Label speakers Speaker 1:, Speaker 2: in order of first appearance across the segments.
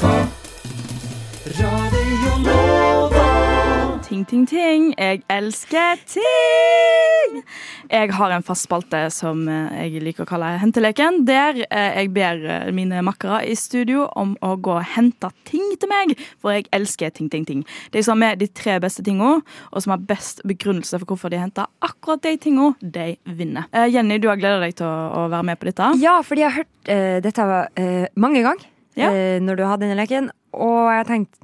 Speaker 1: på Radio Nova.
Speaker 2: Ting, ting, ting. Jeg elsker ting! Jeg har en fast spalte som eh, jeg liker å kalle Henteleken, der eh, jeg ber eh, mine makkere i studio om å gå og hente ting til meg, for jeg elsker ting, ting, ting. De som har med de tre beste tinga, og som har best begrunnelse for hvorfor de henter akkurat de tinga, de vinner. Eh, Jenny, du har gleda deg til å, å være med på dette.
Speaker 3: Ja, fordi jeg har hørt eh, dette eh, mange ganger
Speaker 2: Ja.
Speaker 3: eh, når du har denne leken, og jeg har tenkt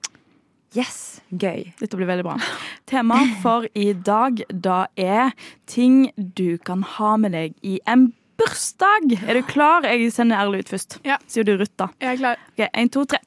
Speaker 3: yes, gøy.
Speaker 2: Dette blir veldig bra. Temaet for i dag da er ting du kan ha med deg i en bursdag. Er du klar? Jeg sender Erle ut først.
Speaker 4: Ja.
Speaker 2: Sier du Ruth, da.
Speaker 4: Jeg er klar.
Speaker 2: Ok, Én, to, tre.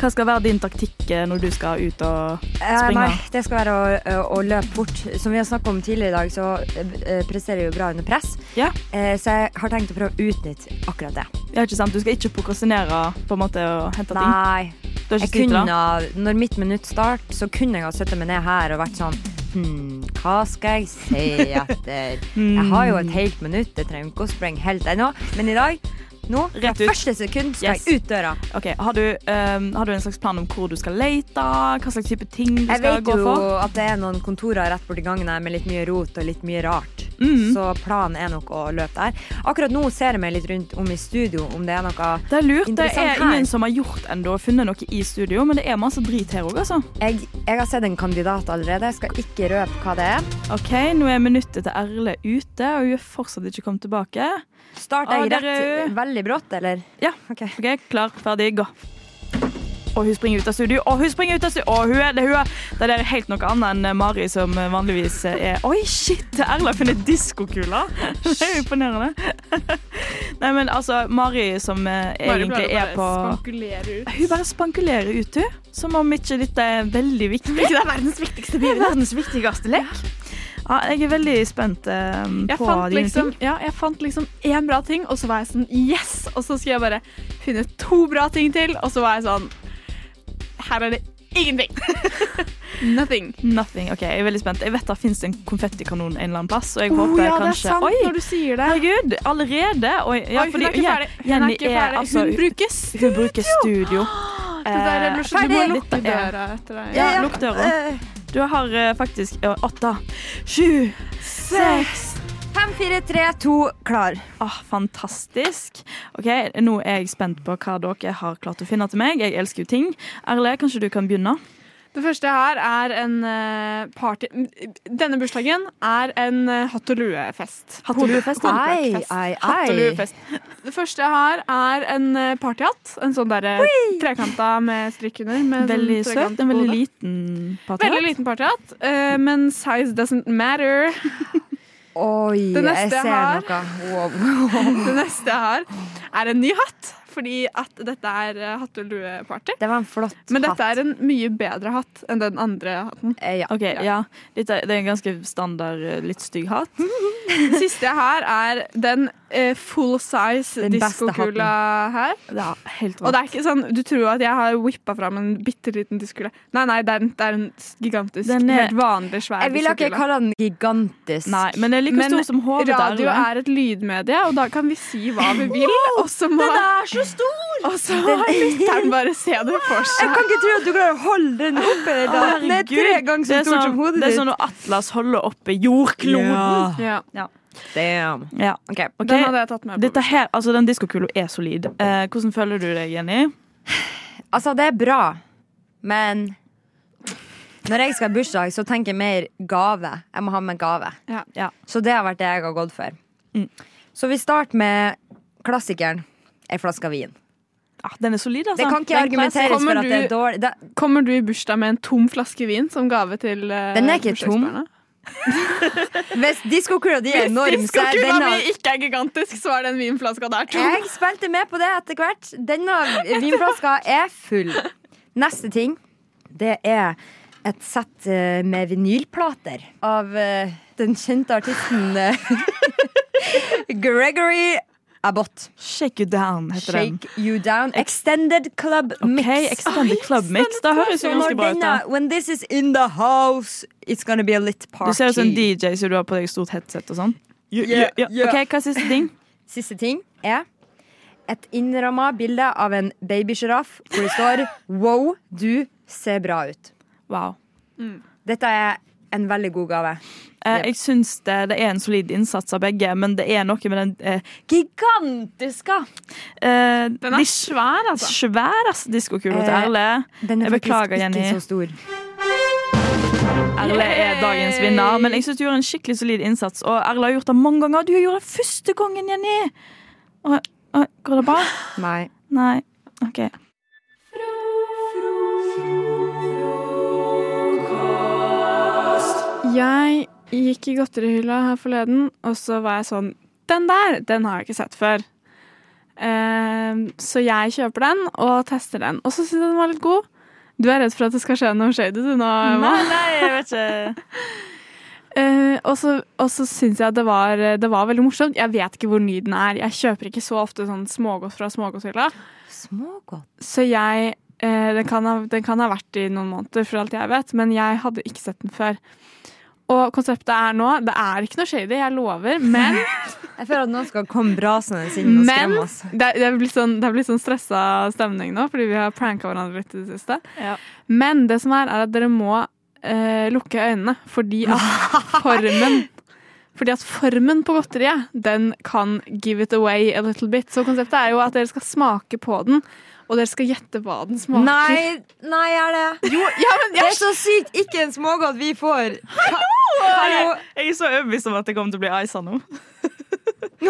Speaker 2: Hva skal være din taktikk eh, når du skal ut og
Speaker 3: Eh,
Speaker 2: springe?
Speaker 3: nei, det skal være å, eh, å, å løpe fort. Som vi har snakket om tidligere i dag, så eh, presterer jeg jo bra under press.
Speaker 2: Ja.
Speaker 3: Eh, så jeg har tenkt å prøve å utnytte akkurat det.
Speaker 2: ja, ikke sant? Du skal ikke prokrastinere på en måte og hente ting?
Speaker 3: Nei.
Speaker 2: Du har
Speaker 3: Jeg
Speaker 2: ikke tid til
Speaker 3: kunne,
Speaker 2: det?
Speaker 3: ha- når mitt minutt start, så kunne jeg ha sittet meg ned her og vært sånn Hm, hva skal jeg si etter? Jeg har
Speaker 2: Mm.
Speaker 3: jo et helt minutt, jeg trenger ikke å sprenge helt ennå. Men i dag, nå, fra
Speaker 2: Rett ut.
Speaker 3: første sekund, skal
Speaker 2: Yes.
Speaker 3: jeg ut døra.
Speaker 2: Ok, har du, eh, har du en slags plan om hvor du skal lete? Hva slags type ting du
Speaker 3: Jeg
Speaker 2: skal
Speaker 3: vet
Speaker 2: gå
Speaker 3: jo
Speaker 2: for?
Speaker 3: at det er noen kontorer rett borti gangen her med litt mye rot og litt mye rart.
Speaker 2: Mhm.
Speaker 3: Så planen er nok å løpe der. Akkurat nå ser jeg meg litt rundt om i studio om det er noe
Speaker 2: Det er lurt. Det
Speaker 3: Interessant
Speaker 2: er
Speaker 3: her.
Speaker 2: ingen som har gjort ennå og funnet noe i studio, men det er masse drit her òg, altså.
Speaker 3: jeg, jeg har sett en kandidat allerede, jeg skal ikke røpe hva det er.
Speaker 2: OK, nå er minuttet til Erle ute, og hun er fortsatt ikke kommet tilbake.
Speaker 3: Starter
Speaker 2: Å,
Speaker 3: jeg
Speaker 2: der er
Speaker 3: rett
Speaker 2: hun.
Speaker 3: veldig brått, eller?
Speaker 2: Ja.
Speaker 3: Ok.
Speaker 2: OK, klar, ferdig, gå. Og hun springer ut av studio, og hun springer ut av studio! Og hun er, det, hun er, det der er helt noe annet enn Mari, som vanligvis er Oi, shit! Erle har funnet diskokula! Det er jo imponerende. Nei, men altså, Mari som eh,
Speaker 4: Mari
Speaker 2: egentlig
Speaker 4: pleier å bare
Speaker 2: er på
Speaker 4: spankulere ut.
Speaker 2: Hun bare spankulerer ut, hun. Som om ikke dette er veldig viktig. Det er verdens viktigste bilde. Verdens viktigste lek. Ja, jeg er veldig spent eh,
Speaker 4: Jeg
Speaker 2: på
Speaker 4: fant,
Speaker 2: dine
Speaker 4: liksom,
Speaker 2: ting.
Speaker 4: ja, jeg fant liksom én bra ting, og så var jeg sånn yes! Og så skal jeg bare finne to bra ting til, og så var jeg sånn Her er det ingenting. Nothing.
Speaker 2: Nothing. Ok, jeg er veldig spent. Jeg vet det fins en konfettikanon en eller annen plass, og jeg
Speaker 4: Oh, ja,
Speaker 2: håper
Speaker 4: det er
Speaker 2: kanskje
Speaker 4: sant
Speaker 2: Oi,
Speaker 4: når du sier det.
Speaker 2: herregud! Allerede? Oi, ja,
Speaker 4: Oi, hun
Speaker 2: fordi-
Speaker 4: er ikke
Speaker 2: ja,
Speaker 4: ferdig. Hun,
Speaker 2: Jenny
Speaker 4: er ikke ferdig.
Speaker 2: altså,
Speaker 4: hun bruker
Speaker 2: hun bruker studio.
Speaker 4: Det der er
Speaker 2: Eh,
Speaker 4: lusj- Du må
Speaker 3: ferdig.
Speaker 4: lukke
Speaker 2: Dette er-
Speaker 4: døra etter deg.
Speaker 2: Ja, lukk døra.
Speaker 3: Eh,
Speaker 2: Du har eh, faktisk eh, åtte, sju, seks
Speaker 3: Fem, fire, tre, to, klar.
Speaker 2: Ah, fantastisk. Ok, Nå er jeg spent på hva dere har klart å finne til meg. Jeg elsker jo ting. Erle, kanskje du kan begynne?
Speaker 4: Det første her er en eh, party Denne bursdagen er en eh, hatt og lue-fest.
Speaker 2: Hatt og luefest, da.
Speaker 3: Ei,
Speaker 4: Fest.
Speaker 3: ei,
Speaker 4: Hatt og
Speaker 3: ei.
Speaker 4: luefest. Det første jeg har, er en eh, partyhatt. En sånn derre trekanta med strikk under. Med
Speaker 2: Veldig
Speaker 4: sånn
Speaker 2: søt.
Speaker 4: trekant på
Speaker 2: En veldig
Speaker 4: hodet.
Speaker 2: liten
Speaker 4: Veldig
Speaker 2: patriot.
Speaker 4: liten partyhatt, eh, men size doesn't matter.
Speaker 3: Oi,
Speaker 4: Det neste
Speaker 3: jeg
Speaker 4: jeg
Speaker 3: ser
Speaker 4: har-
Speaker 3: noe. Wow.
Speaker 4: Det neste jeg har, er en ny hatt. Fordi at dette er eh, hatt og lue-party.
Speaker 3: Det var en flott hatt.
Speaker 4: Men dette er en mye bedre hatt enn den andre hatten.
Speaker 3: Eh, ja.
Speaker 2: Ok, ja. Dette er- det er en ganske standard, eh, litt stygg hatt.
Speaker 4: Det siste jeg har, er den eh, full size
Speaker 3: Den beste
Speaker 4: diskokula her.
Speaker 2: Ja, helt
Speaker 4: Og
Speaker 2: rått.
Speaker 4: det er ikke sånn, Du tror at jeg har whippa fram en bitte liten diskokule. Nei, nei, det er en, det er en gigantisk,
Speaker 2: Den er-
Speaker 4: helt vanlig svær
Speaker 3: eh, Jeg vil ikke
Speaker 4: diskokule.
Speaker 3: kalle den gigantisk.
Speaker 2: Nei, men det er like stor som hodet til
Speaker 4: radio
Speaker 2: Erle.
Speaker 4: er et lydmedie, og da kan vi si hva vi vil. Og så må,
Speaker 2: er så stor!
Speaker 4: og så må lytteren bare se det for
Speaker 3: Jeg
Speaker 4: seg.
Speaker 3: kan ikke tro at du klarer å holde den oppe. Da. Den er tre ganger
Speaker 2: det
Speaker 3: så
Speaker 2: er
Speaker 3: stor som
Speaker 2: sånn-
Speaker 3: hodet
Speaker 2: Det er
Speaker 3: ditt.
Speaker 2: sånn når Atlas holder oppe jordkloden.
Speaker 4: Ja,
Speaker 3: Damn.
Speaker 2: Ja.
Speaker 3: Ok.
Speaker 2: Ok,
Speaker 4: Den hadde jeg tatt med.
Speaker 2: Dette her, altså Den diskokula er solid. Eh, hvordan føler du deg, Jenny?
Speaker 3: Altså, det er bra, men når jeg skal i bursdag, så tenker jeg mer gave. Jeg må ha med gave.
Speaker 4: Ja.
Speaker 2: Ja.
Speaker 3: Så det har vært det jeg har gått for.
Speaker 2: Mm.
Speaker 3: Så vi starter med klassikeren. Ei flaske vin.
Speaker 2: Ah, den er solid, altså.
Speaker 3: Det kan ikke
Speaker 2: Den
Speaker 3: argumenteres
Speaker 4: Kommer
Speaker 3: for at det er
Speaker 4: du-
Speaker 3: dårlig. Det,
Speaker 4: Kommer du i bursdag med en tom flaske vin som gave til eh,
Speaker 3: Den er ikke tom.
Speaker 4: bursdagsbarna?
Speaker 3: hvis diskokula di er enorm,
Speaker 4: Hvis
Speaker 3: så er
Speaker 4: diskokula
Speaker 3: denne
Speaker 4: mi ikke er gigantisk, så er den vinflaska der tom.
Speaker 3: Jeg spilte med på det etter hvert. Denne vinflaska er full. Neste ting, det er et sett eh, med vinylplater av eh, den kjente artisten eh, Gregory Abbott.
Speaker 2: Shake you down, heter den.
Speaker 3: Shake You Down. Extended Club Mix.
Speaker 2: Hey, Extended Club Mix. Det høres jo
Speaker 3: Så når
Speaker 2: ganske bra ut.
Speaker 3: denne,
Speaker 2: da
Speaker 3: when this is in the house, it's gonna be a lit party.
Speaker 2: Du ser ut som en DJ, så du har på deg stort headset og sånn. Ja,
Speaker 3: Yeah,
Speaker 2: ja.
Speaker 3: yeah.
Speaker 2: Ok, Hva er siste ting?
Speaker 3: Siste ting. er et innramma bilde av en babysjiraff hvor det står 'Wow, du ser bra ut'.
Speaker 2: Wow.
Speaker 4: Mm.
Speaker 3: Dette er en veldig god gave.
Speaker 2: Eh,
Speaker 3: Ja.
Speaker 2: jeg syns det, det er en solid innsats av begge, men det er noe med den eh, gigantiske eh,
Speaker 4: Den er
Speaker 2: dis-
Speaker 4: svær, altså.
Speaker 2: svær ass, diskokula til
Speaker 3: Eh,
Speaker 2: Erle.
Speaker 3: Den er
Speaker 2: Jeg beklager,
Speaker 3: faktisk
Speaker 2: Jenny.
Speaker 3: ikke så stor.
Speaker 2: Erle er dagens vinner, men jeg syns du gjorde en skikkelig solid innsats. Og Erle har gjort det mange ganger. Du gjorde det første gangen, Jenny! Og, og, går det bra?
Speaker 3: Nei.
Speaker 2: Nei. OK.
Speaker 4: Jeg gikk i godterihylla her forleden, og så var jeg sånn Den der, den har jeg ikke sett før. Ehm, så jeg kjøper den og tester den. Og så syns jeg den var litt god. Du er redd for at det skal skje noe shady du nå, Emma?
Speaker 2: Nei, nei, jeg vet ikke.
Speaker 4: Eh, og så- og så syns jeg det var, det var veldig morsomt. Jeg vet ikke hvor ny den er. Jeg kjøper ikke så ofte sånn smågodt fra smågodthylla.
Speaker 3: Smågodt.
Speaker 4: Så jeg eh, den, kan ha, den kan ha vært i noen måneder, for alt jeg vet, men jeg hadde ikke sett den før. Og konseptet er nå Det er ikke noe shady, jeg lover, men
Speaker 3: Jeg føler at noen skal komme brasende inn og
Speaker 4: Men-
Speaker 3: skremme oss.
Speaker 4: det, er- det er blitt sånn, det er blitt sånn stressa stemning nå, fordi vi har pranka hverandre litt i det siste.
Speaker 2: Ja.
Speaker 4: Men det som er, er at dere må eh, lukke øynene, fordi at formen fordi at formen på godteriet, den kan give it away a little bit. Så konseptet er jo at dere skal smake på den, og dere skal gjette hva den smaker.
Speaker 3: Nei, nei, er det?
Speaker 4: Ja, men
Speaker 3: Det er
Speaker 4: jeg,
Speaker 3: så sykt ikke en smågodt vi får. Hallo!
Speaker 2: Jeg er så overbevist om at det kommer til å bli isa nå.
Speaker 3: Hallo.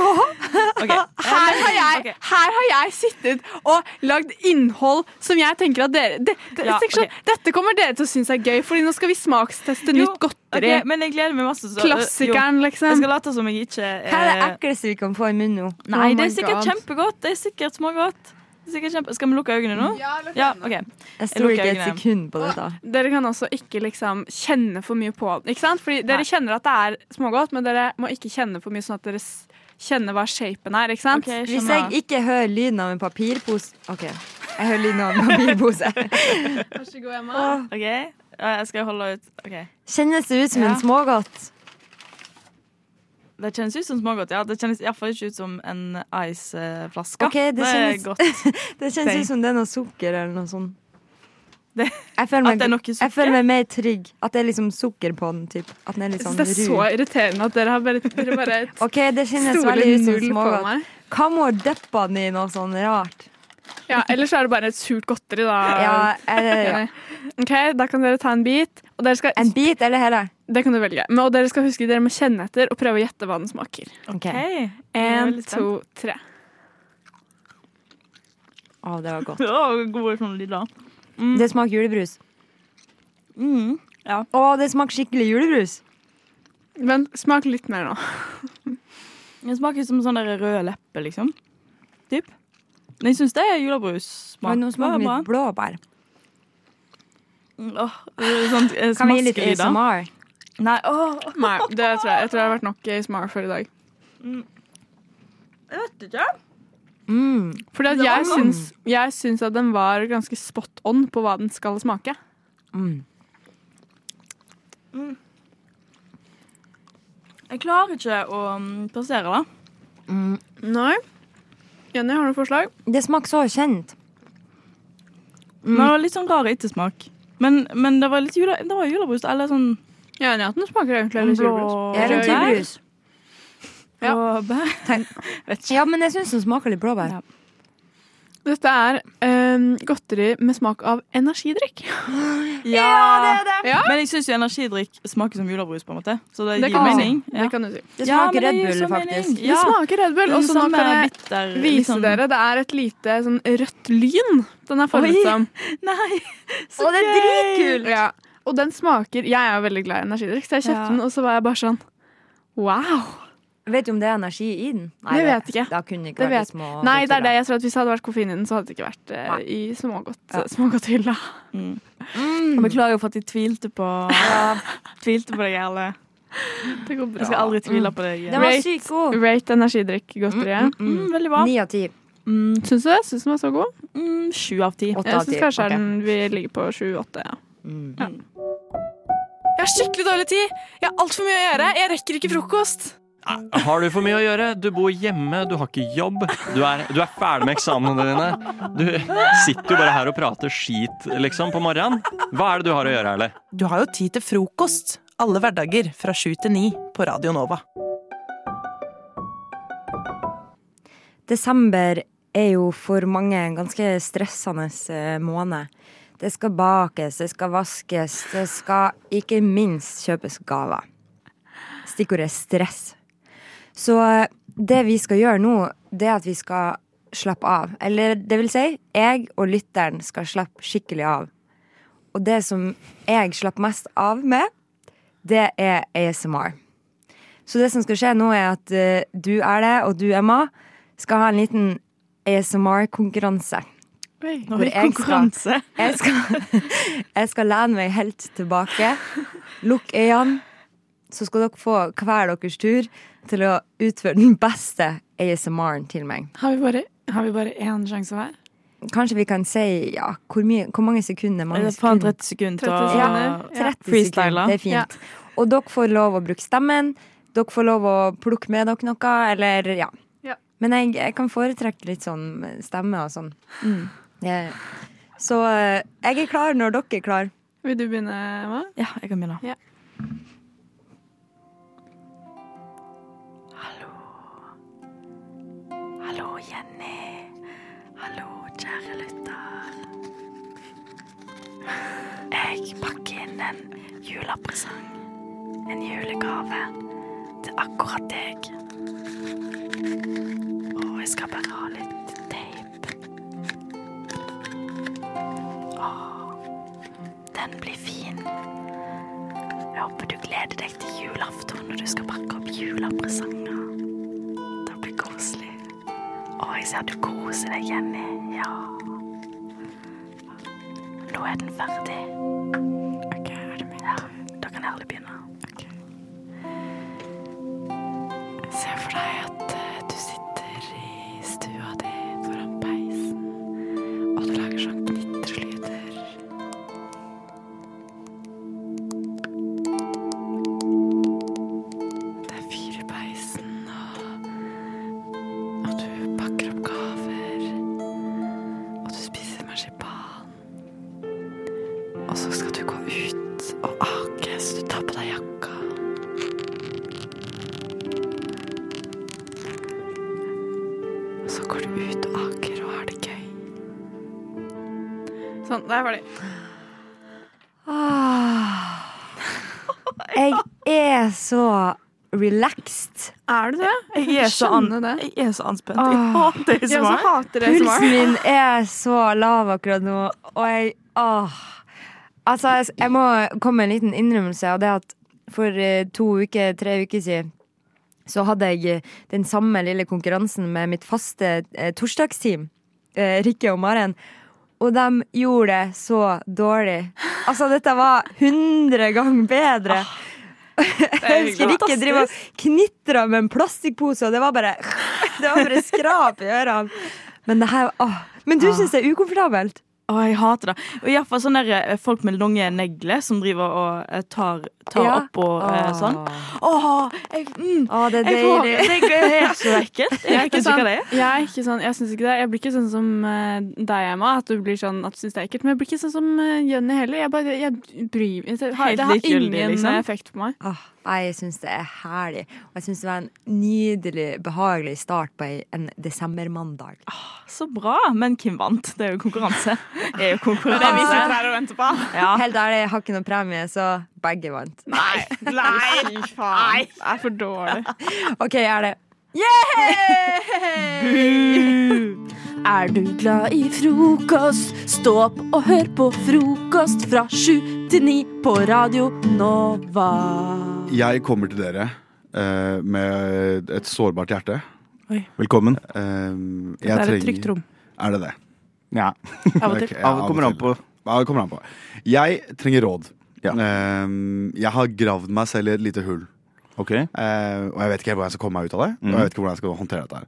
Speaker 2: Ok.
Speaker 4: her, har jeg,
Speaker 2: Ok.
Speaker 4: her har jeg sittet og lagd innhold som jeg tenker at dere det, det,
Speaker 2: Ja,
Speaker 4: tenk sånn, Dette kommer dere til å synes er gøy, Fordi nå skal vi smaksteste
Speaker 2: Jo,
Speaker 4: nytt godteri.
Speaker 2: Ok, men jeg gleder meg masse. så-
Speaker 4: Klassikeren,
Speaker 2: Jo, jeg
Speaker 4: liksom.
Speaker 2: skal late som jeg ikke eh,
Speaker 3: Hva er det ekleste vi kan få i munnen nå?
Speaker 2: Nei,
Speaker 4: Oh
Speaker 2: det er
Speaker 4: my
Speaker 2: sikkert
Speaker 4: God.
Speaker 2: kjempegodt. Det er sikkert smågodt. Det er Sikkert kjempe... Skal vi lukke øynene nå? Ja, ok.
Speaker 3: Jeg stoler
Speaker 2: lukker
Speaker 3: ikke et
Speaker 2: øynene.
Speaker 3: sekund på dette.
Speaker 4: Dere kan også ikke liksom kjenne for mye på den. Ikke sant? Fordi dere
Speaker 2: Nei.
Speaker 4: kjenner at det er smågodt, men dere må ikke kjenne for mye, sånn at dere s- kjenner hva shapen er. Ikke sant?
Speaker 2: Ok,
Speaker 3: Hvis
Speaker 2: skjønner.
Speaker 3: jeg ikke hører lyden av en papirpose OK, jeg hører lyden av en papirpose.
Speaker 4: Vær så god, Emma.
Speaker 3: Åh,
Speaker 2: Ok, ja, jeg skal holde ut. Ok.
Speaker 3: Kjennes det ut som
Speaker 2: Ja.
Speaker 3: en smågodt?
Speaker 2: Det kjennes ut som smågodt, ja. Det kjennes iallfall ikke ut som en ice-flaske.
Speaker 3: Ok, det kjennes-
Speaker 2: er godt.
Speaker 3: Det
Speaker 2: Tenk.
Speaker 3: kjennes ut som det er noe sukker eller noe sånt.
Speaker 2: Det-
Speaker 3: Jeg føler
Speaker 2: at det er noe
Speaker 3: meg,
Speaker 2: sukker?
Speaker 3: jeg føler meg mer trygg. At det er liksom sukker på den. Typ. At den er litt
Speaker 4: Jeg
Speaker 3: sånn
Speaker 4: synes det er så
Speaker 3: ru.
Speaker 4: irriterende at dere har bare, dere bare t-
Speaker 3: OK, det kjennes
Speaker 4: stoler
Speaker 3: veldig ut som
Speaker 4: null på
Speaker 3: smågodt.
Speaker 4: meg.
Speaker 3: Hva om hun dypper den i noe sånn rart?
Speaker 4: Ja, ellers er det bare et surt godteri, da.
Speaker 3: Ja, er det, ja.
Speaker 4: Ok, Da kan dere ta en bit. Og dere skal,
Speaker 3: En bit eller hele?
Speaker 4: det kan du velge. Men, og dere skal huske dere må kjenne etter og prøve å gjette hva den smaker.
Speaker 3: Ok.
Speaker 2: Hei.
Speaker 4: En,
Speaker 2: veldig spent.
Speaker 4: to, tre.
Speaker 3: Å, det var godt.
Speaker 2: Oh, gode sånne lyder.
Speaker 3: Det smaker julebrus.
Speaker 2: Mm.
Speaker 3: Å, det smaker skikkelig julebrus.
Speaker 4: Men smak litt mer nå.
Speaker 2: Det smaker som sånn der røde lepper, liksom. Typ. Men jeg syns det er julebrussmak.
Speaker 3: Oi, nå smaker
Speaker 2: Det
Speaker 3: det
Speaker 2: var
Speaker 3: litt blåbær.
Speaker 2: bra. Mm, Åh, sånn, eh,
Speaker 3: Kan vi gi litt
Speaker 2: smaskelyder.
Speaker 3: ASMR?
Speaker 2: Nei, åh,
Speaker 4: Nei, det tror jeg, jeg tror det har vært nok i smart for i dag.
Speaker 2: Mm. jeg vet ikke.
Speaker 3: Mm.
Speaker 4: Fordi at
Speaker 2: Det var
Speaker 4: jeg
Speaker 2: godt.
Speaker 4: syns, jeg syns at den var ganske spot on på hva den skal smake.
Speaker 3: Mm.
Speaker 2: Jeg klarer ikke å mm, plassere det.
Speaker 3: Mm.
Speaker 4: Nei. Jenny, har du noen forslag?
Speaker 3: Det smaker så kjent.
Speaker 4: Mm.
Speaker 2: Men det var litt sånn rar ettersmak. Men, men det var litt jule, det var julebrus. Eller sånn
Speaker 4: Jeg er enig i at den smaker egentlig litt julebrus.
Speaker 2: blå
Speaker 3: Jeg er en
Speaker 4: Rød.
Speaker 3: julebrus.
Speaker 4: Ja.
Speaker 2: blåbær.
Speaker 3: Ja, men jeg syns den smaker litt blåbær.
Speaker 2: Ja.
Speaker 4: Dette er øhm, godteri med smak av energidrikk.
Speaker 2: Ja!
Speaker 3: det.
Speaker 4: Ja,
Speaker 2: Men jeg syns jo energidrikk smaker som julebrus, på en måte. Så det,
Speaker 4: det
Speaker 2: gir
Speaker 4: kan du si.
Speaker 2: mening.
Speaker 4: Det kan du si.
Speaker 3: Det
Speaker 2: Ja,
Speaker 3: smaker
Speaker 2: men
Speaker 3: Red
Speaker 2: gir
Speaker 3: Bull,
Speaker 2: så
Speaker 3: faktisk.
Speaker 2: mening. Ja.
Speaker 4: Det smaker Red Bull.
Speaker 2: Den
Speaker 4: Og så nå
Speaker 2: samme
Speaker 4: kan jeg
Speaker 2: bitter, litt
Speaker 4: vise
Speaker 2: sånn-
Speaker 4: dere. Det er et lite sånn rødt lyn den er formet
Speaker 2: Oi.
Speaker 4: som.
Speaker 2: Nei, så
Speaker 3: sånn? Å, det er dritkult!
Speaker 4: Ja. Og den smaker Jeg er jo veldig glad i energidrikk, så jeg kjøpte
Speaker 2: Ja.
Speaker 4: den, og så var jeg bare sånn Wow!
Speaker 3: Vet du om det er energi i den?
Speaker 4: Det vet jeg ikke.
Speaker 3: Da kunne det ikke
Speaker 4: Det
Speaker 3: vært
Speaker 4: vet-
Speaker 3: de små
Speaker 4: Nei, det er det
Speaker 3: godteriene.
Speaker 4: jeg tror at hvis det hadde vært koffein i den, så hadde det ikke vært eh,
Speaker 3: Nei.
Speaker 4: i smågodt,
Speaker 3: Ja.
Speaker 4: smågodthylla. Mm.
Speaker 2: Jeg beklager for at jeg tvilte på,
Speaker 3: Ja,
Speaker 2: tvilte på deg, Erle.
Speaker 4: Det går
Speaker 2: Jeg skal
Speaker 4: bra. Mm.
Speaker 2: aldri tvile på deg.
Speaker 3: den var
Speaker 4: Rate-
Speaker 3: sykt god.
Speaker 4: Rate energidrikkgodteriet.
Speaker 2: Mm, veldig bra.
Speaker 3: Ni av ti.
Speaker 2: Mm,
Speaker 4: Syns du det? Syns den var så god?
Speaker 2: mm, Sju av ti.
Speaker 3: Åtte
Speaker 4: Jeg
Speaker 3: av ti.
Speaker 4: syns kanskje
Speaker 3: Ok.
Speaker 4: den vi ligger på sju-åtte. Ja.
Speaker 3: Mm.
Speaker 4: Jeg har skikkelig dårlig tid! Jeg har altfor mye å gjøre! Jeg rekker ikke frokost!
Speaker 5: Har du for mye å gjøre? Du bor hjemme, du har ikke jobb. Du er, du er ferdig med eksamene dine. Du sitter jo bare her og prater skit, liksom, på morgenen. Hva er det du har å gjøre, Erle?
Speaker 6: Du har jo tid til frokost alle hverdager fra sju til ni på Radio Nova.
Speaker 3: Desember er jo for mange en ganske stressende eh, måned. Det skal bakes, det skal vaskes, det skal ikke minst kjøpes gaver. Stikkordet er stress. Så eh, det vi skal gjøre nå, det er at vi skal slappe av. Eller det vil si, jeg og lytteren skal slappe skikkelig av. Og det som jeg slapp mest av med, det er ASMR. Så det som skal skje nå, er at eh, du er det, og du, Emma, skal ha en liten ASMR-konkurranse.
Speaker 2: Nå er det
Speaker 3: jeg skal-
Speaker 2: konkurranse.
Speaker 3: Jeg skal, jeg skal lene meg helt tilbake. Lukk øynene. Så skal dere få hver deres tur til å utføre den beste ASMR-en til meg.
Speaker 4: Har vi bare, har vi bare én sjanse hver?
Speaker 3: Kanskje vi kan si ja, hvor, mye, hvor mange sekunder?
Speaker 2: Er
Speaker 3: Mange
Speaker 2: det faen
Speaker 3: sekunder?
Speaker 2: 30 sekunder til
Speaker 4: 30
Speaker 2: å
Speaker 4: sekunder.
Speaker 3: Ja, 30
Speaker 2: Freestyle,
Speaker 3: sekunder. Det er
Speaker 4: Ja.
Speaker 3: fint. Og dere får lov å bruke stemmen. Dere får lov å plukke med dere noe, eller ja.
Speaker 4: Ja.
Speaker 3: Men jeg, jeg kan foretrekke litt sånn stemme og sånn.
Speaker 4: Mm.
Speaker 3: Det- Så eh, jeg er klar når dere er klar.
Speaker 4: Vil du begynne, Emma?
Speaker 2: Ja, jeg kan begynne.
Speaker 4: Ja.
Speaker 2: Hallo. Hallo, Jenny. Hallo, kjære lytter. Jeg pakker inn en julepresang. En julegave til akkurat deg. Og jeg skal bare ha litt teip. Åh, den blir fin. Jeg håper du gleder deg til julaften når du skal pakke opp julepresanger. Det blir koselig. Å, jeg ser du koser deg, Jenny. Ja. Nå er den ferdig. Ok, er det min tur? Ja, da kan Erle begynne. Se for deg at eh, du sitter i stua di foran peisen, og du lager sånn knitrelyder. Det er fyr i peisen, og, og du pakker opp gaver. Og du spiser marsipan. Og så skal du gå ut og ake, så du tar på deg jakka. Og så går du ut og aker og har det gøy.
Speaker 4: Sånn, der var det.
Speaker 3: Ah. Jeg er så relaxed.
Speaker 4: Er du det?
Speaker 2: Jeg er så, an
Speaker 4: skjønner det. Ah.
Speaker 2: jeg er så anspent. Jeg hater det
Speaker 4: Jeg
Speaker 2: som
Speaker 4: også
Speaker 2: er.
Speaker 4: hater det som
Speaker 3: Pulsen
Speaker 4: var.
Speaker 3: min er så lav akkurat nå, og jeg åh. Altså, jeg- jeg må komme med en liten innrømmelse av det at for eh, to uker, tre uker siden så hadde jeg eh, den samme lille konkurransen med mitt faste eh, torsdagsteam, eh, Rikke og Maren. Og de gjorde det så dårlig. Altså, dette var 100 ganger bedre. Jeg husker Rikke driver og knitra med en plastikkpose, og det var bare, det var bare skrap i ørene. Men det her åh. Men du syns det er ukomfortabelt?
Speaker 2: Å, jeg hater det. Og i hvert fall sånne der, eh, folk med lange negler som driver og eh, tar, tar
Speaker 3: Ja.
Speaker 2: opp og eh, sånn. Åh, jeg, mm,
Speaker 3: Åh, det er
Speaker 2: jeg får
Speaker 3: deilig.
Speaker 2: det. Det er helt så ekkelt. Jeg vet ikke hva det er.
Speaker 4: Jeg er ikke sånn, jeg synes ikke det. Jeg blir ikke sånn som eh, deg, Emma, at du blir sånn at du synes det er ekkelt. Men jeg blir ikke sånn som eh, Jenny heller. Jeg bare, jeg bryr meg. Det har,
Speaker 2: Helt
Speaker 4: det har
Speaker 2: likegyldig,
Speaker 4: ingen eh,
Speaker 2: liksom.
Speaker 4: effekt på meg.
Speaker 3: Åh, nei, jeg syns det er herlig. Og jeg syns det var en nydelig, behagelig start på ei- en desembermandag.
Speaker 2: Så bra. Men hvem vant? Det er jo konkurranse. Det er jo konkurranse.
Speaker 4: her og venter på.
Speaker 2: Ja.
Speaker 3: Helt ærlig, jeg har ikke noen premie, så begge vant.
Speaker 4: Nei, nei, faen. Det er for dårlig.
Speaker 3: OK, er det
Speaker 7: Er du glad i frokost? Stå opp og hør på frokost fra sju til ni på Radio Nova.
Speaker 8: Jeg kommer til dere eh, med et sårbart hjerte.
Speaker 9: Velkommen.
Speaker 8: Eh, jeg
Speaker 6: Det er et
Speaker 8: trenger-
Speaker 6: trygt rom.
Speaker 8: Er det det?
Speaker 9: Ja.
Speaker 6: Av og
Speaker 8: Ok,
Speaker 6: til.
Speaker 8: ja,
Speaker 9: Av- kommer an på.
Speaker 8: Ja, det kommer an på. Jeg trenger råd.
Speaker 9: Ja.
Speaker 8: Eh, jeg har gravd meg selv i et lite hull.
Speaker 9: Ok.
Speaker 8: Eh, og jeg vet ikke helt hvordan jeg skal komme meg ut av det. Og
Speaker 9: Mhm.
Speaker 8: jeg vet ikke hvordan jeg skal håndtere dette her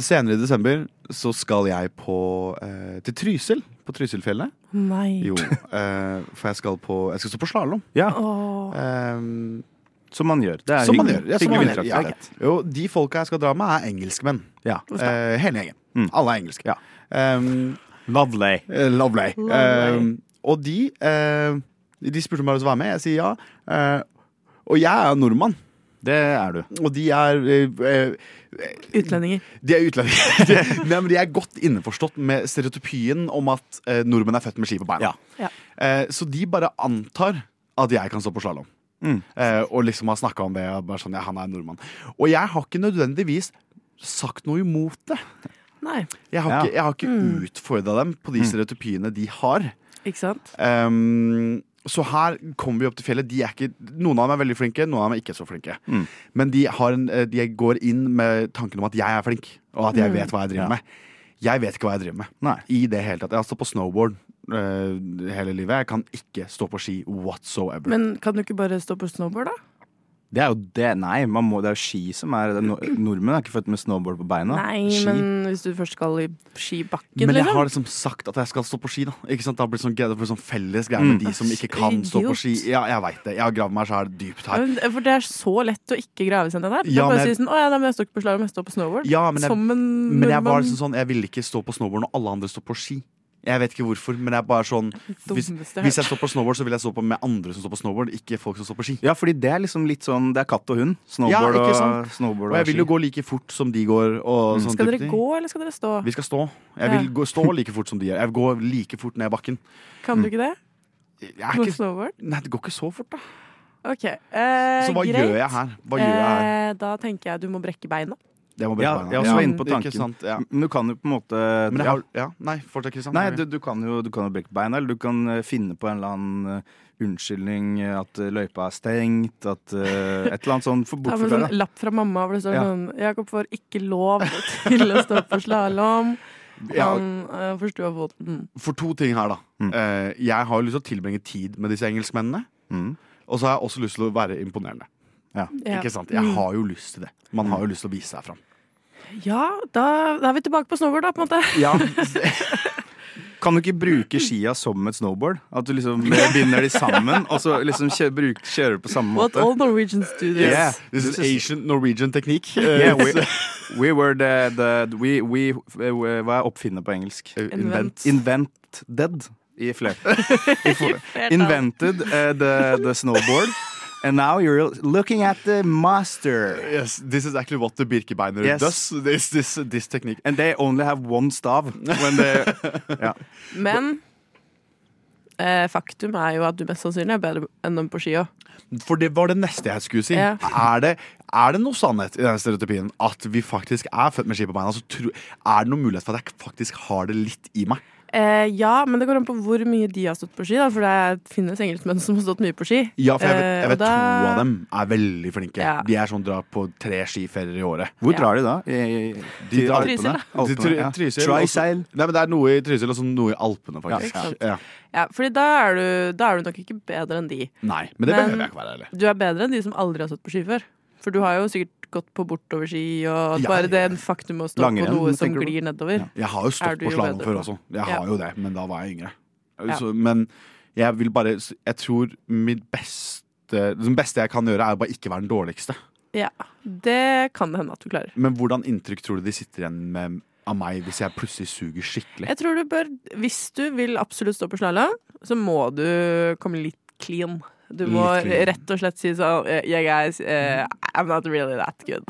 Speaker 8: Senere i desember så skal jeg på, eh, til Trysil. På Trysilfjellet.
Speaker 6: Nei.
Speaker 8: Jo, eh, for jeg skal, på, jeg skal stå på slalåm.
Speaker 9: Ja.
Speaker 6: Åh.
Speaker 8: Eh,
Speaker 9: Som man gjør. Det er
Speaker 8: Som man
Speaker 9: hyggelig-
Speaker 8: gjør. Ja, som man
Speaker 9: hyggelig
Speaker 8: gjør. Ja,
Speaker 9: vinteraktivitet.
Speaker 8: Jo, de folka jeg skal dra med, er engelskmenn.
Speaker 9: Ja.
Speaker 8: Eh, hele gjengen.
Speaker 9: Mm.
Speaker 8: Alle er engelske.
Speaker 9: Ja.
Speaker 8: Um,
Speaker 9: Lovely.
Speaker 8: eh, lovely.
Speaker 7: Lovely.
Speaker 8: Um, og de eh, De spurte om jeg hadde lyst til å være med. Jeg sier ja. Eh, og jeg er jo nordmann,
Speaker 9: Det er du.
Speaker 8: og de er eh, eh,
Speaker 6: Utlendinger.
Speaker 8: De er utlendinger. De, nei, men de er godt innforstått med stereotypien om at eh, nordmenn er født med ski på beina.
Speaker 6: Ja.
Speaker 8: Eh, så de bare antar at jeg kan stå på slalåm.
Speaker 9: Mm.
Speaker 8: Eh, og liksom har snakka om det. Og bare sånn, ja, han er nordmann. Og jeg har ikke nødvendigvis sagt noe imot det.
Speaker 6: Nei, Mm.
Speaker 8: Jeg har
Speaker 9: Ja. Mm.
Speaker 8: ikke, jeg har ikke utfordra dem på de stereotypiene de har.
Speaker 6: ikke sant?
Speaker 8: Ehm, så her kommer vi opp til fjellet. De er ikke, noen av dem er veldig flinke, noen av dem er ikke så flinke.
Speaker 9: Mm.
Speaker 8: Men de, har en, eh, de går inn med tanken om at jeg er flink, og at jeg
Speaker 6: Mm.
Speaker 8: vet hva jeg driver
Speaker 9: Ja.
Speaker 8: med. Jeg vet ikke hva jeg driver med.
Speaker 9: Nei.
Speaker 8: I det hele tatt. Jeg har stått på snowboard eh, hele livet. Jeg kan ikke stå på ski whatsoever.
Speaker 6: Men kan du ikke bare stå på snowboard, da?
Speaker 9: Det er jo det. Nei, man må, det er jo ski som er det er no- Nordmenn er ikke født med snowboard på beina.
Speaker 6: Nei,
Speaker 9: ski.
Speaker 6: men hvis du først skal i skibakken,
Speaker 8: Men, jeg
Speaker 6: liksom.
Speaker 8: har liksom sagt at jeg skal stå på ski. Da ikke sant? Da blir det sånn, det blir sånn felles greie med
Speaker 9: Mm.
Speaker 8: de som ikke kan stå på
Speaker 6: Idiot.
Speaker 8: ski. Ja, jeg veit det. Jeg har gravd meg sjæl dypt
Speaker 6: Ja,
Speaker 8: her.
Speaker 6: men- For det er så lett å ikke grave seg ned der. Det
Speaker 8: Ja,
Speaker 6: er bare
Speaker 8: men
Speaker 6: å
Speaker 8: jeg-
Speaker 6: si sånn Å ja, nei, men jeg står ikke på slalåm, jeg står på snowboard.
Speaker 8: Ja, men jeg
Speaker 6: Som en
Speaker 8: Men jeg var
Speaker 6: nordmann.
Speaker 8: liksom sånn, jeg ville ikke stå på snowboard når alle andre står på ski. Jeg vet ikke hvorfor, men jeg er bare sånn hvis,
Speaker 6: Dummeste jeg
Speaker 8: hvis
Speaker 6: har
Speaker 8: jeg står på snowboard, så vil jeg stå på med andre som står på snowboard, ikke folk som står på ski.
Speaker 9: Ja, fordi det er liksom litt sånn Det er katt og hund. Snowboard,
Speaker 8: Ja, ikke sant?
Speaker 9: og, Mm. snowboard
Speaker 8: Og jeg vil jo gå like fort som de går. Og sånn
Speaker 6: Skal
Speaker 8: type
Speaker 6: dere
Speaker 8: ting.
Speaker 6: gå, eller skal dere stå?
Speaker 8: Vi skal stå. Jeg
Speaker 6: Ja.
Speaker 8: vil gå, stå like fort som de gjør. Jeg går like fort ned bakken.
Speaker 6: Kan
Speaker 8: Mm.
Speaker 6: du ikke det?
Speaker 8: Jeg er
Speaker 6: Gå
Speaker 8: ikke,
Speaker 6: snowboard?
Speaker 8: nei, det går ikke så fort, da.
Speaker 6: Ok. Eh,
Speaker 8: Så hva
Speaker 6: greit.
Speaker 8: gjør jeg her? Hva gjør jeg her?
Speaker 6: Eh, da tenker jeg du må brekke beina.
Speaker 8: Det må
Speaker 9: Ja,
Speaker 8: bare
Speaker 9: jeg er også inne på tanken.
Speaker 8: Ikke sant? Ja.
Speaker 9: Men du kan jo på en måte
Speaker 8: Men jeg
Speaker 9: ja,
Speaker 8: har, ja. Nei, fortsett, Kristian.
Speaker 9: Nei, du, du kan jo du kan jo brekke beina, eller du kan eh, finne på en eller annen eh, unnskyldning. eh, At eh, løypa er stengt, at eh, et eller annet sånn for
Speaker 6: Ta med
Speaker 9: bortforklare.
Speaker 6: sånn lapp fra mamma hvor det står
Speaker 9: Ja.
Speaker 6: sånn Jakob får ikke lov til å stå på slalåm.
Speaker 8: ja,
Speaker 6: Han eh, forstår foten.
Speaker 8: For to ting her, da.
Speaker 9: Mm.
Speaker 8: Eh, jeg har jo lyst til å tilbringe tid med disse engelskmennene.
Speaker 9: Mm.
Speaker 8: Og så har jeg også lyst til å være imponerende.
Speaker 6: Ja. Mm.
Speaker 8: Ikke sant? Jeg har jo lyst til det. Man har jo lyst til å vise seg fram.
Speaker 6: ja, da, da er vi tilbake på snowboard, da, på en måte.
Speaker 9: Kan du ikke bruke skia som et snowboard? At du liksom binder de sammen, og så liksom kjø, bruk, kjører du på samme
Speaker 6: What
Speaker 9: måte?
Speaker 6: all Norwegians do this.
Speaker 9: Yeah.
Speaker 8: This is Asian Norwegian Uh, teknikk.
Speaker 9: Yeah, we, we were the, the we, we, we, Hva er oppfinner på engelsk?
Speaker 8: Uh, Invent.
Speaker 9: Invented i flertall. I for- Invented uh, the, the snowboard. And now you're looking at the master.
Speaker 8: Yes, this is actually what the Birkebeiner
Speaker 9: Yes.
Speaker 8: does. This, this, this technique.
Speaker 9: And they only have one stav. When they,
Speaker 6: Men eh, faktum er jo at du mest sannsynlig er bedre enn dem på ski òg.
Speaker 8: For det var det neste jeg skulle si.
Speaker 6: Ja.
Speaker 8: Er, det, er det noe sannhet i den stereotypien at vi faktisk er født med ski på beina? Altså, tro, er det noen mulighet for at jeg faktisk har det litt i meg?
Speaker 6: Eh, ja, men det går an på hvor mye de har stått på ski, da, for det finnes engelskmenn som har stått mye på ski.
Speaker 8: Ja, for jeg vet,
Speaker 6: Eh,
Speaker 8: jeg
Speaker 6: og
Speaker 8: vet
Speaker 6: da-
Speaker 8: to av dem er veldig flinke.
Speaker 6: Ja.
Speaker 8: De er sånn drar på tre skiferier i året.
Speaker 9: hvor
Speaker 6: Ja.
Speaker 9: drar de da? I, i,
Speaker 8: De
Speaker 9: til
Speaker 8: drar-
Speaker 9: Alpene?
Speaker 8: Til Try-
Speaker 9: Alpene, ja.
Speaker 8: Trysil,
Speaker 9: Trysil.
Speaker 8: også- Nei, men Det er noe i Trysil og så noe i Alpene,
Speaker 6: Ja,
Speaker 8: faktisk.
Speaker 6: ikke sant.
Speaker 8: Ja.
Speaker 6: Ja, fordi da er, du, da er du nok ikke bedre enn de.
Speaker 8: Nei, men
Speaker 6: Men-
Speaker 8: det behøver jeg ikke være heller.
Speaker 6: Du er bedre enn de som aldri har stått på ski før. For du har jo sikkert gått på bortoverski, og at
Speaker 8: Ja,
Speaker 6: bare det
Speaker 8: ja.
Speaker 6: faktum å stå
Speaker 9: Langrenn,
Speaker 6: på noe som
Speaker 9: tenker du på?
Speaker 6: glir nedover.
Speaker 8: Jeg har jo
Speaker 6: Er
Speaker 8: stått
Speaker 6: du
Speaker 8: på
Speaker 6: jo
Speaker 8: slalåm
Speaker 6: bedre
Speaker 8: før
Speaker 6: på?
Speaker 8: også. Jeg
Speaker 6: Ja.
Speaker 8: har jo det, men da var jeg yngre.
Speaker 6: Ja.
Speaker 8: Så, men jeg vil bare Jeg tror mitt beste det beste jeg kan gjøre, er å bare ikke være den dårligste.
Speaker 6: Ja, Det kan det hende at du klarer.
Speaker 8: Men hvordan inntrykk tror du de sitter igjen med av meg hvis jeg plutselig suger skikkelig?
Speaker 6: Jeg tror du bør, hvis du vil absolutt stå på slalåm, så må du komme litt clean. Du må
Speaker 8: Litt clean.
Speaker 6: rett og slett si sånn eh, Yeah, guys, eh, I'm not really that good.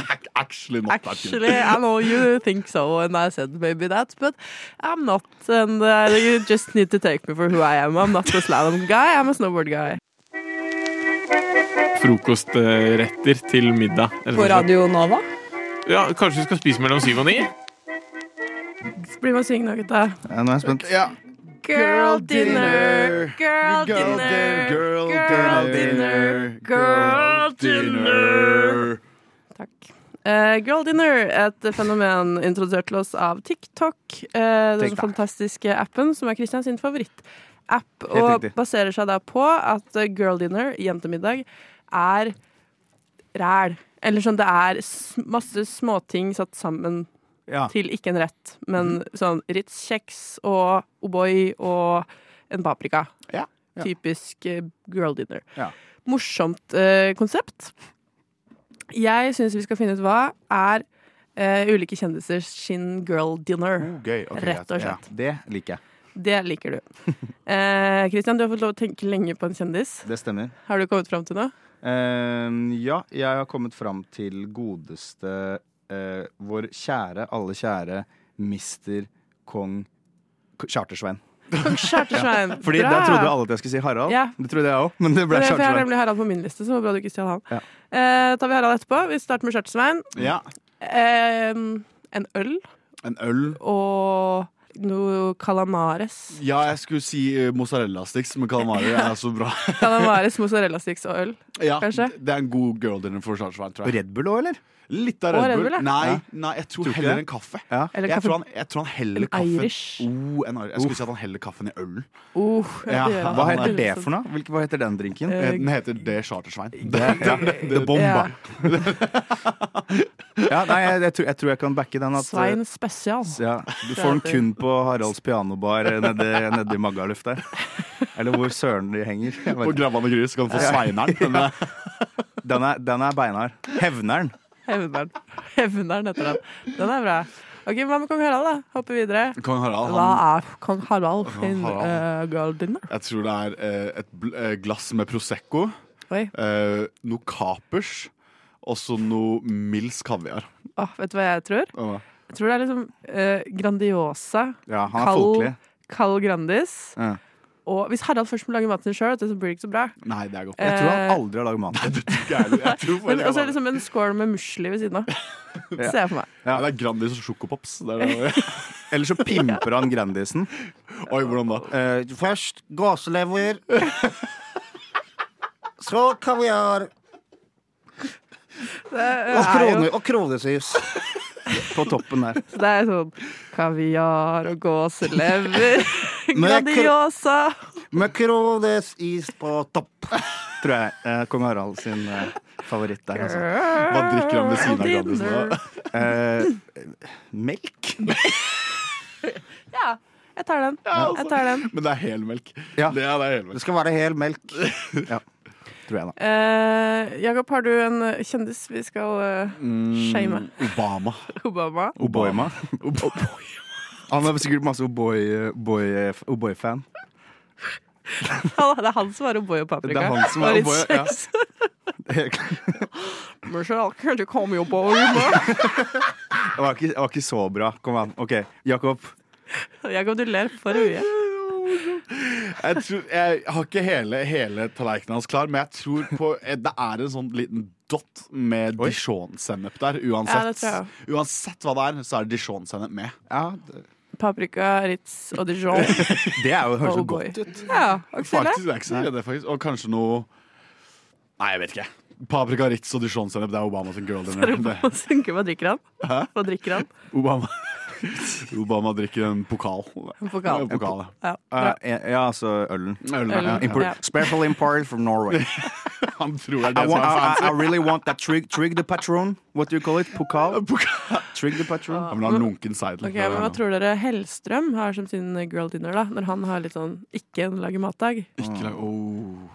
Speaker 8: Ac- Actually, not that good.
Speaker 6: Actually, I know you think so, and I said maybe that, but I'm not. And uh, you just need to take me for who I am. I'm not a slalom guy, I'm a snowboard guy.
Speaker 10: Frokostretter til middag. rett og
Speaker 3: På
Speaker 10: slett.
Speaker 3: Radio Nova.
Speaker 10: Ja, kanskje vi skal spise mellom syv og ni?
Speaker 6: Bli med og syng noe, gutta.
Speaker 9: Ja, nå er jeg spent.
Speaker 8: Ja.
Speaker 6: Girl dinner, girl dinner,
Speaker 8: girl
Speaker 6: girl dinner, girl dinner. Takk. Eh, girl dinner, et fenomen introdusert til oss av TikTok. eh, den
Speaker 9: TikTok.
Speaker 6: fantastiske appen som er Christian sin favorittapp.
Speaker 9: Helt
Speaker 6: Og
Speaker 9: riktig.
Speaker 6: baserer seg da på at eh, girl dinner, jentemiddag, er ræl. Eller sånn, det er s- masse småting satt sammen
Speaker 9: Ja. Mhm.
Speaker 6: til ikke en rett, men sånn Ritz-kjeks og O'boy og en paprika.
Speaker 9: Ja, ja.
Speaker 6: Typisk eh, girl dinner.
Speaker 9: Ja.
Speaker 6: morsomt eh, konsept. Jeg syns vi skal finne ut hva er eh, ulike kjendiser sin girl dinner.
Speaker 9: Oh, Gøy. ok, greit.
Speaker 6: Rett og slett.
Speaker 9: Ja, det liker jeg.
Speaker 6: Det liker du. Eh, Christian, du har fått lov å tenke lenge på en kjendis.
Speaker 9: Det stemmer.
Speaker 6: Har du kommet fram til noe?
Speaker 9: Ehm, ja, jeg har kommet fram til godeste eh, vår kjære, alle kjære mister kong K- Chartersvein.
Speaker 6: Kong Chartersvein.
Speaker 9: Ja, Fordi
Speaker 6: Bra.
Speaker 9: da trodde alle at jeg skulle si Harald.
Speaker 6: Ja.
Speaker 9: Det trodde jeg òg, men det ble
Speaker 6: For Jeg har
Speaker 9: Chartersvein.
Speaker 6: nemlig Harald på min liste, så det var bra du ikke stjal han.
Speaker 9: Ja.
Speaker 6: Eh, tar vi Harald etterpå. Vi starter med Chartersvein.
Speaker 9: Ja.
Speaker 6: Eh, en øl
Speaker 8: En øl.
Speaker 6: og noe calamares.
Speaker 8: Ja, jeg skulle si uh, mozzarella-sticks, men calamari er så bra.
Speaker 6: Calamares, mozzarella sticks og øl.
Speaker 8: ja,
Speaker 6: Kanskje?
Speaker 8: Det er en god girl dinner for Chartersveien, tror jeg.
Speaker 9: Red Bull òg, eller?
Speaker 8: Litt av
Speaker 6: Og
Speaker 8: Red Bull.
Speaker 6: Red Bull, ja.
Speaker 8: nei,
Speaker 9: Ja.
Speaker 8: nei, jeg tror
Speaker 9: Tror ikke
Speaker 8: heller
Speaker 9: det.
Speaker 8: en kaffe.
Speaker 9: Ja.
Speaker 6: Eller
Speaker 8: Jeg
Speaker 6: kaffe-
Speaker 8: tror, han, jeg tror han heller
Speaker 6: En
Speaker 8: kaffen
Speaker 6: Irish.
Speaker 8: Oh, en Irish. Jeg skulle si at han heller kaffen i ølen.
Speaker 6: Oh,
Speaker 8: Ja,
Speaker 6: det gjør han.
Speaker 9: Hva heter det for noe? Hvilke, hva heter den drinken?
Speaker 6: Eh,
Speaker 8: Den heter Det Chartersvein.
Speaker 9: Det, ja, det
Speaker 6: Ja.
Speaker 9: bomba. Ja, nei, jeg, jeg, tror, jeg tror jeg kan backe den. Sånn At, eh,
Speaker 6: Svein spesial.
Speaker 9: ja, du får den kun på Haralds pianobar eh, nedi, nedi Magaluf der. Eller hvor søren de henger. Jeg vet
Speaker 8: På Gravan og Grus kan du få Sveineren. eh. Den er-
Speaker 9: ikke. Den er, den er beinhard. Hevneren.
Speaker 6: Hevneren. Hevneren heter den. Den er bra. Ok, Hva med kong Harald, da? Hopper videre.
Speaker 8: Kong Harald,
Speaker 6: Hva
Speaker 8: han,
Speaker 6: er kong Harald sin
Speaker 8: Harald.
Speaker 6: uh, girl dinner?
Speaker 8: jeg tror det er eh, et bl eh, glass med Prosecco,
Speaker 6: Oi,
Speaker 8: eh, noe kapers og så noe Mills kaviar.
Speaker 6: Åh, eh, ah, Vet du hva jeg tror?
Speaker 8: Hva?
Speaker 6: Jeg tror det er liksom eh, Grandiosa,
Speaker 9: Ja, han er
Speaker 6: Kald.
Speaker 9: folkelig.
Speaker 6: Carl Grandis.
Speaker 9: Ja.
Speaker 6: Og hvis Harald først må lage maten sjøl, så blir det ikke så bra.
Speaker 8: Nei, det er godt.
Speaker 9: Jeg tror han
Speaker 6: Eh,
Speaker 9: aldri har lagd mat.
Speaker 8: Det tror ikke jeg heller. Jeg tror
Speaker 6: Men
Speaker 8: faktisk
Speaker 6: også er det
Speaker 8: jeg bare-
Speaker 6: liksom en skål med musli ved siden av.
Speaker 9: Ja.
Speaker 6: Ser jeg for meg.
Speaker 8: ja, det er Grandis og Sjokopops. Det er det.
Speaker 9: Eller så pimper han Grandisen.
Speaker 8: Oi, hvordan da?
Speaker 9: Eh, først gåselever. Så kaviar.
Speaker 6: Eh,
Speaker 9: Og, krone, og kronesus. På toppen der.
Speaker 6: Så det er sånn kaviar og gåselever.
Speaker 9: Men jeg-
Speaker 6: Grandiosa.
Speaker 9: Med kronesis på topp. Tror jeg eh, kong Harald sin eh, favoritt der, altså.
Speaker 8: Hva drikker han ved siden av
Speaker 6: Dinner.
Speaker 8: Grandisen? da?
Speaker 9: Eh, melk?
Speaker 6: Ja, jeg tar den.
Speaker 9: altså.
Speaker 6: Jeg tar den.
Speaker 8: Men det er helmelk.
Speaker 9: Ja.
Speaker 8: Det er, det er helmelk.
Speaker 9: Det skal være hel melk. Ja. Tror jeg, da.
Speaker 6: Eh, Jakob, har du en kjendis vi skal eh,
Speaker 9: Mm.
Speaker 6: shame?
Speaker 8: Mm, Obama.
Speaker 6: Obama.
Speaker 9: Oboima. Han er sikkert masse Oboi- Oboi- Oboi-fan.
Speaker 6: Han- Det er han som er O'boy og
Speaker 9: Det
Speaker 6: paprika.
Speaker 9: er han som er
Speaker 6: Litt
Speaker 9: Oboi. Ja.
Speaker 6: sex.
Speaker 9: Helt-
Speaker 6: Michelle, can't you call me O'boy?
Speaker 9: Det var ikke, det var ikke så bra. Kom an. OK, Jakob.
Speaker 6: Jakob, du ler for mye.
Speaker 8: Jeg, tror, jeg har ikke hele, hele tallerkenen hans klar, men jeg tror på Det er en sånn liten dott med
Speaker 9: Oi.
Speaker 8: dijon-sennep der.
Speaker 6: Ja, det
Speaker 8: Uansett,
Speaker 6: tror jeg
Speaker 8: uansett hva det er, så er det dijon-sennep med.
Speaker 9: Ja, det,
Speaker 6: Paprika, Ritz og Dijon.
Speaker 9: det er jo, høres jo
Speaker 6: Oh, boy.
Speaker 9: godt ut.
Speaker 6: Ja, Akselle.
Speaker 8: Faktisk, det er ikke så ille, det, faktisk. Og kanskje noe Nei, jeg vet ikke. Paprika, ritz og dijon-sennep. Det er Obama sin girl dinner.
Speaker 6: Hva
Speaker 8: Det-
Speaker 6: drikker han?
Speaker 8: Hæ?
Speaker 6: Hva drikker han?
Speaker 8: Obama. Obama drikker en pokal. En
Speaker 6: pokal.
Speaker 8: En pokal ja. Eh,
Speaker 6: Ja,
Speaker 9: Ja,
Speaker 6: bra.
Speaker 9: ja, altså ølen.
Speaker 8: Øl,
Speaker 6: Øl.
Speaker 8: ja.
Speaker 9: Import,
Speaker 6: Ja.
Speaker 9: Special import from Norway.
Speaker 8: Han tror det er
Speaker 9: I,
Speaker 8: det som
Speaker 9: want,
Speaker 8: er
Speaker 9: I, I
Speaker 8: fancy.
Speaker 9: really want that trig, trig de patron. What do you call it? Pokal?
Speaker 8: Pokal.
Speaker 9: Trig de patron.
Speaker 8: Ja, men han har lunken seidel.
Speaker 6: Ok, men Hva tror dere Hellstrøm har som sin girl dinner, da? Når han har litt sånn ikke en lage matdag?
Speaker 8: Ikke lag oh.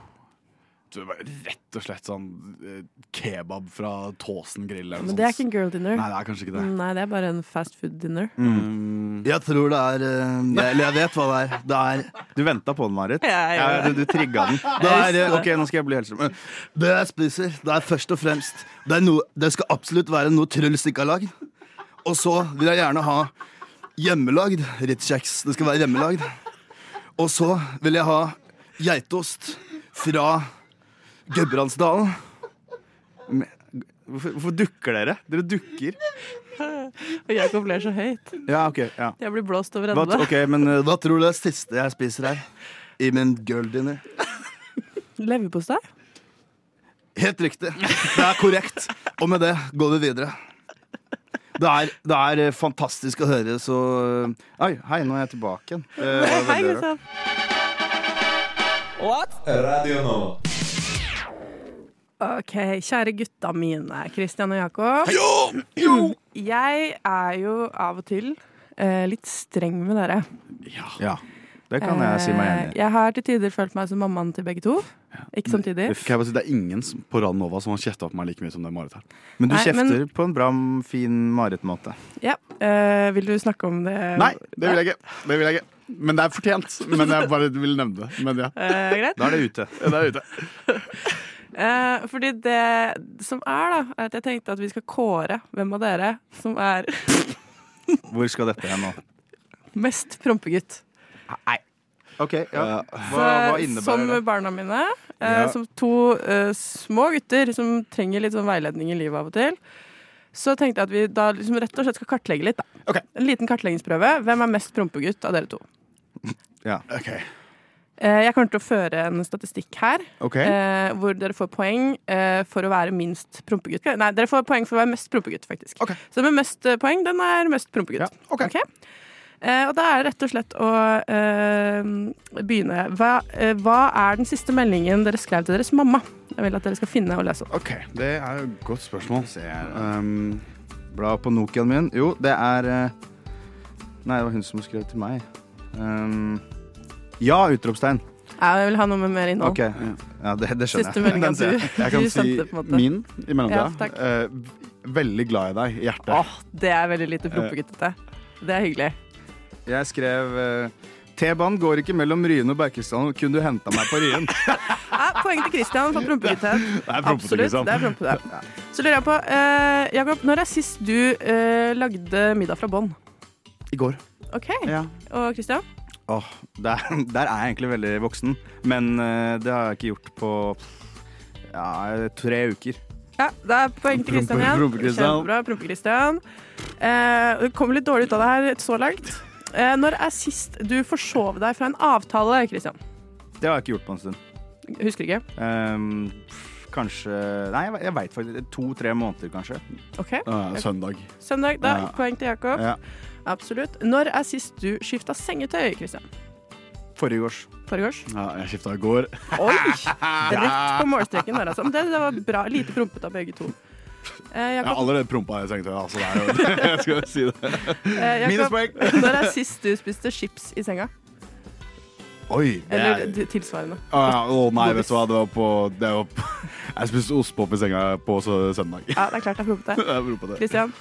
Speaker 8: Du, det var Rett og slett sånn eh, kebab fra Tåsen grill eller noe
Speaker 6: Men det Mm. er ikke
Speaker 8: sånt.
Speaker 6: en girl dinner.
Speaker 8: sånn Nei, det er kanskje ikke det.
Speaker 6: Nei, det er bare en fast food dinner.
Speaker 9: Mm. Jeg tror det er Eller jeg vet hva det er. Det er Du venta på den, Marit.
Speaker 6: Ja, jeg gjorde
Speaker 9: Ja, du du trigga den. Det er, eh, ok, nå skal jeg bli Hellstrøm. Det jeg spiser, det er først og fremst Det, er noe, det skal absolutt være noe Truls ikke har lagd. Og så vil jeg gjerne ha hjemmelagd Ritz-kjeks. Det skal være hjemmelagd. Og så vil jeg ha geitost fra Gudbrandsdalen. Men- Hvorfor, hvorfor dukker dere? Dere dukker.
Speaker 6: Og Jakob ler så høyt.
Speaker 9: Ja, ok. ja
Speaker 6: Jeg blir blåst over
Speaker 9: hva,
Speaker 6: ende.
Speaker 9: ok, men eh, hva tror du er det siste jeg spiser her? I min girl dinner.
Speaker 6: Leverpostei?
Speaker 9: Helt riktig. Det er korrekt. Og med det går vi videre. Det er, det er eh, fantastisk å høre, så eh, Oi, hei, nå er jeg tilbake igjen. Eh, det var
Speaker 6: Hei,
Speaker 9: veldig rart.
Speaker 6: Kristian.
Speaker 1: Radio Nova.
Speaker 6: Ok, kjære gutta mine, Kristian og Jakob. Mm, Jeg er jo av og til eh, litt streng med dere.
Speaker 9: Ja.
Speaker 8: Det kan jeg si meg
Speaker 6: Eh,
Speaker 8: enig i.
Speaker 6: Jeg har til tider følt meg som mammaen til begge to. Ikke samtidig.
Speaker 8: Kan jeg bare si, Det er ingen som- på Radio Nova som har kjefta på meg like mye som det Marit har. Men
Speaker 6: du Nei, men- kjefter
Speaker 8: på en bra, fin Marit-måte.
Speaker 6: Ja. eh, vil du snakke om det?
Speaker 8: Nei, det vil jeg ikke. Det vil jeg ikke. Men det er fortjent. Men jeg bare vil nevne det. Men ja.
Speaker 6: Eh, greit.
Speaker 8: Da er det ute. Da er det ute.
Speaker 6: Eh, fordi det som er, da, er at jeg tenkte at vi skal kåre hvem av dere som er
Speaker 9: Hvor skal dette hen nå?
Speaker 6: mest prompegutt.
Speaker 9: Nei. OK, ja. Hva, hva
Speaker 6: Så, som
Speaker 9: innebærer det?
Speaker 6: barna mine. eh,
Speaker 9: Ja.
Speaker 6: Som to eh, små gutter som trenger litt sånn veiledning i livet av og til. Så tenkte jeg at vi da liksom rett og slett skal kartlegge litt. da. En liten kartleggingsprøve. Hvem er mest prompegutt av dere to?
Speaker 8: Ja. OK.
Speaker 6: Eh, Jeg kommer til å føre en statistikk her,
Speaker 8: Ok.
Speaker 6: eh, hvor dere får poeng eh, for å være minst prompegutt. Nei, dere får poeng for å være mest prompegutt, faktisk. Så den med mest eh, poeng, den er mest prompegutt. Ok. Eh, og da er det rett og slett å eh, begynne. Hva, eh, hva er den siste meldingen dere skrev til deres mamma? Jeg vil at dere skal finne og lese opp.
Speaker 8: Ok. Det er jo et godt spørsmål. Ser jeg.
Speaker 9: Um, bla på Nokiaen min. Jo, det er eh, Nei, det var hun som skrev til meg. Um, ja, utropstegn.
Speaker 6: Jeg vil ha noe med mer innhold.
Speaker 9: Ok, ja. ja det, det skjønner
Speaker 6: Siste
Speaker 9: jeg.
Speaker 6: meldingen
Speaker 9: Den ser
Speaker 6: du-
Speaker 9: jeg.
Speaker 8: Jeg kan
Speaker 6: Du
Speaker 8: si
Speaker 6: sendte det, på en måte.
Speaker 8: min i mellomtida.
Speaker 6: Ja, takk.
Speaker 8: Eh, veldig glad i deg i hjertet.
Speaker 6: Det er veldig lite prompeguttete. Det er hyggelig.
Speaker 9: Jeg skrev eh, T-banen går ikke mellom Ryen og Berkestad. Kunne du henta meg på Ryen?
Speaker 6: Ja, poeng til Christian for prompegutthet.
Speaker 9: er prompete,
Speaker 6: Absolutt.
Speaker 9: liksom. Christian.
Speaker 6: Det er prompete. Så lurer jeg på, eh, Jakob, når er sist du eh, lagde middag fra bånn?
Speaker 9: I går.
Speaker 6: OK.
Speaker 9: Ja.
Speaker 6: Og Christian?
Speaker 9: Åh, der, der er jeg egentlig veldig voksen. Men eh, det har jeg ikke gjort på ja, tre uker.
Speaker 6: Ja, det er poeng til Christian igjen.
Speaker 9: Prompe- Prompe-Christian.
Speaker 6: Kjempebra, Prompe-Christian. Eh, det kommer litt dårlig ut av det her så langt. Eh, når er sist du forsov deg fra en avtale, Christian?
Speaker 9: Det har jeg ikke gjort på en stund.
Speaker 6: Husker ikke.
Speaker 9: Ehm, pff, kanskje Nei, jeg, jeg veit faktisk. To-tre måneder, kanskje.
Speaker 6: OK.
Speaker 9: søndag.
Speaker 6: Søndag. Da,
Speaker 9: Ja.
Speaker 6: Poeng til Jakob.
Speaker 9: Ja.
Speaker 6: Absolutt. Når er sist du skifta sengetøy, Christian?
Speaker 9: Forrige års.
Speaker 6: Foregårs?
Speaker 8: Ja, jeg skifta i går.
Speaker 6: Oi! Rett på målstreken der, altså. Men det, det var bra. Lite prompete av begge to. Eh,
Speaker 8: Jeg har
Speaker 6: Jakob,
Speaker 8: allerede prompa i sengetøyet. Altså, det er jo, jeg skal si det.
Speaker 6: eh, Jakob
Speaker 8: Minuspoeng.
Speaker 6: når er sist du spiste chips i senga?
Speaker 8: Oi. det
Speaker 6: Eller
Speaker 8: er-
Speaker 6: d- tilsvarende.
Speaker 8: Å ja, å nei, vet du hva. Det var på, det var på Jeg spiste ostepop i senga på sø- søndag.
Speaker 6: Ja, det er klart det er
Speaker 8: Det er
Speaker 6: prompete.
Speaker 8: prompete.
Speaker 6: Christian,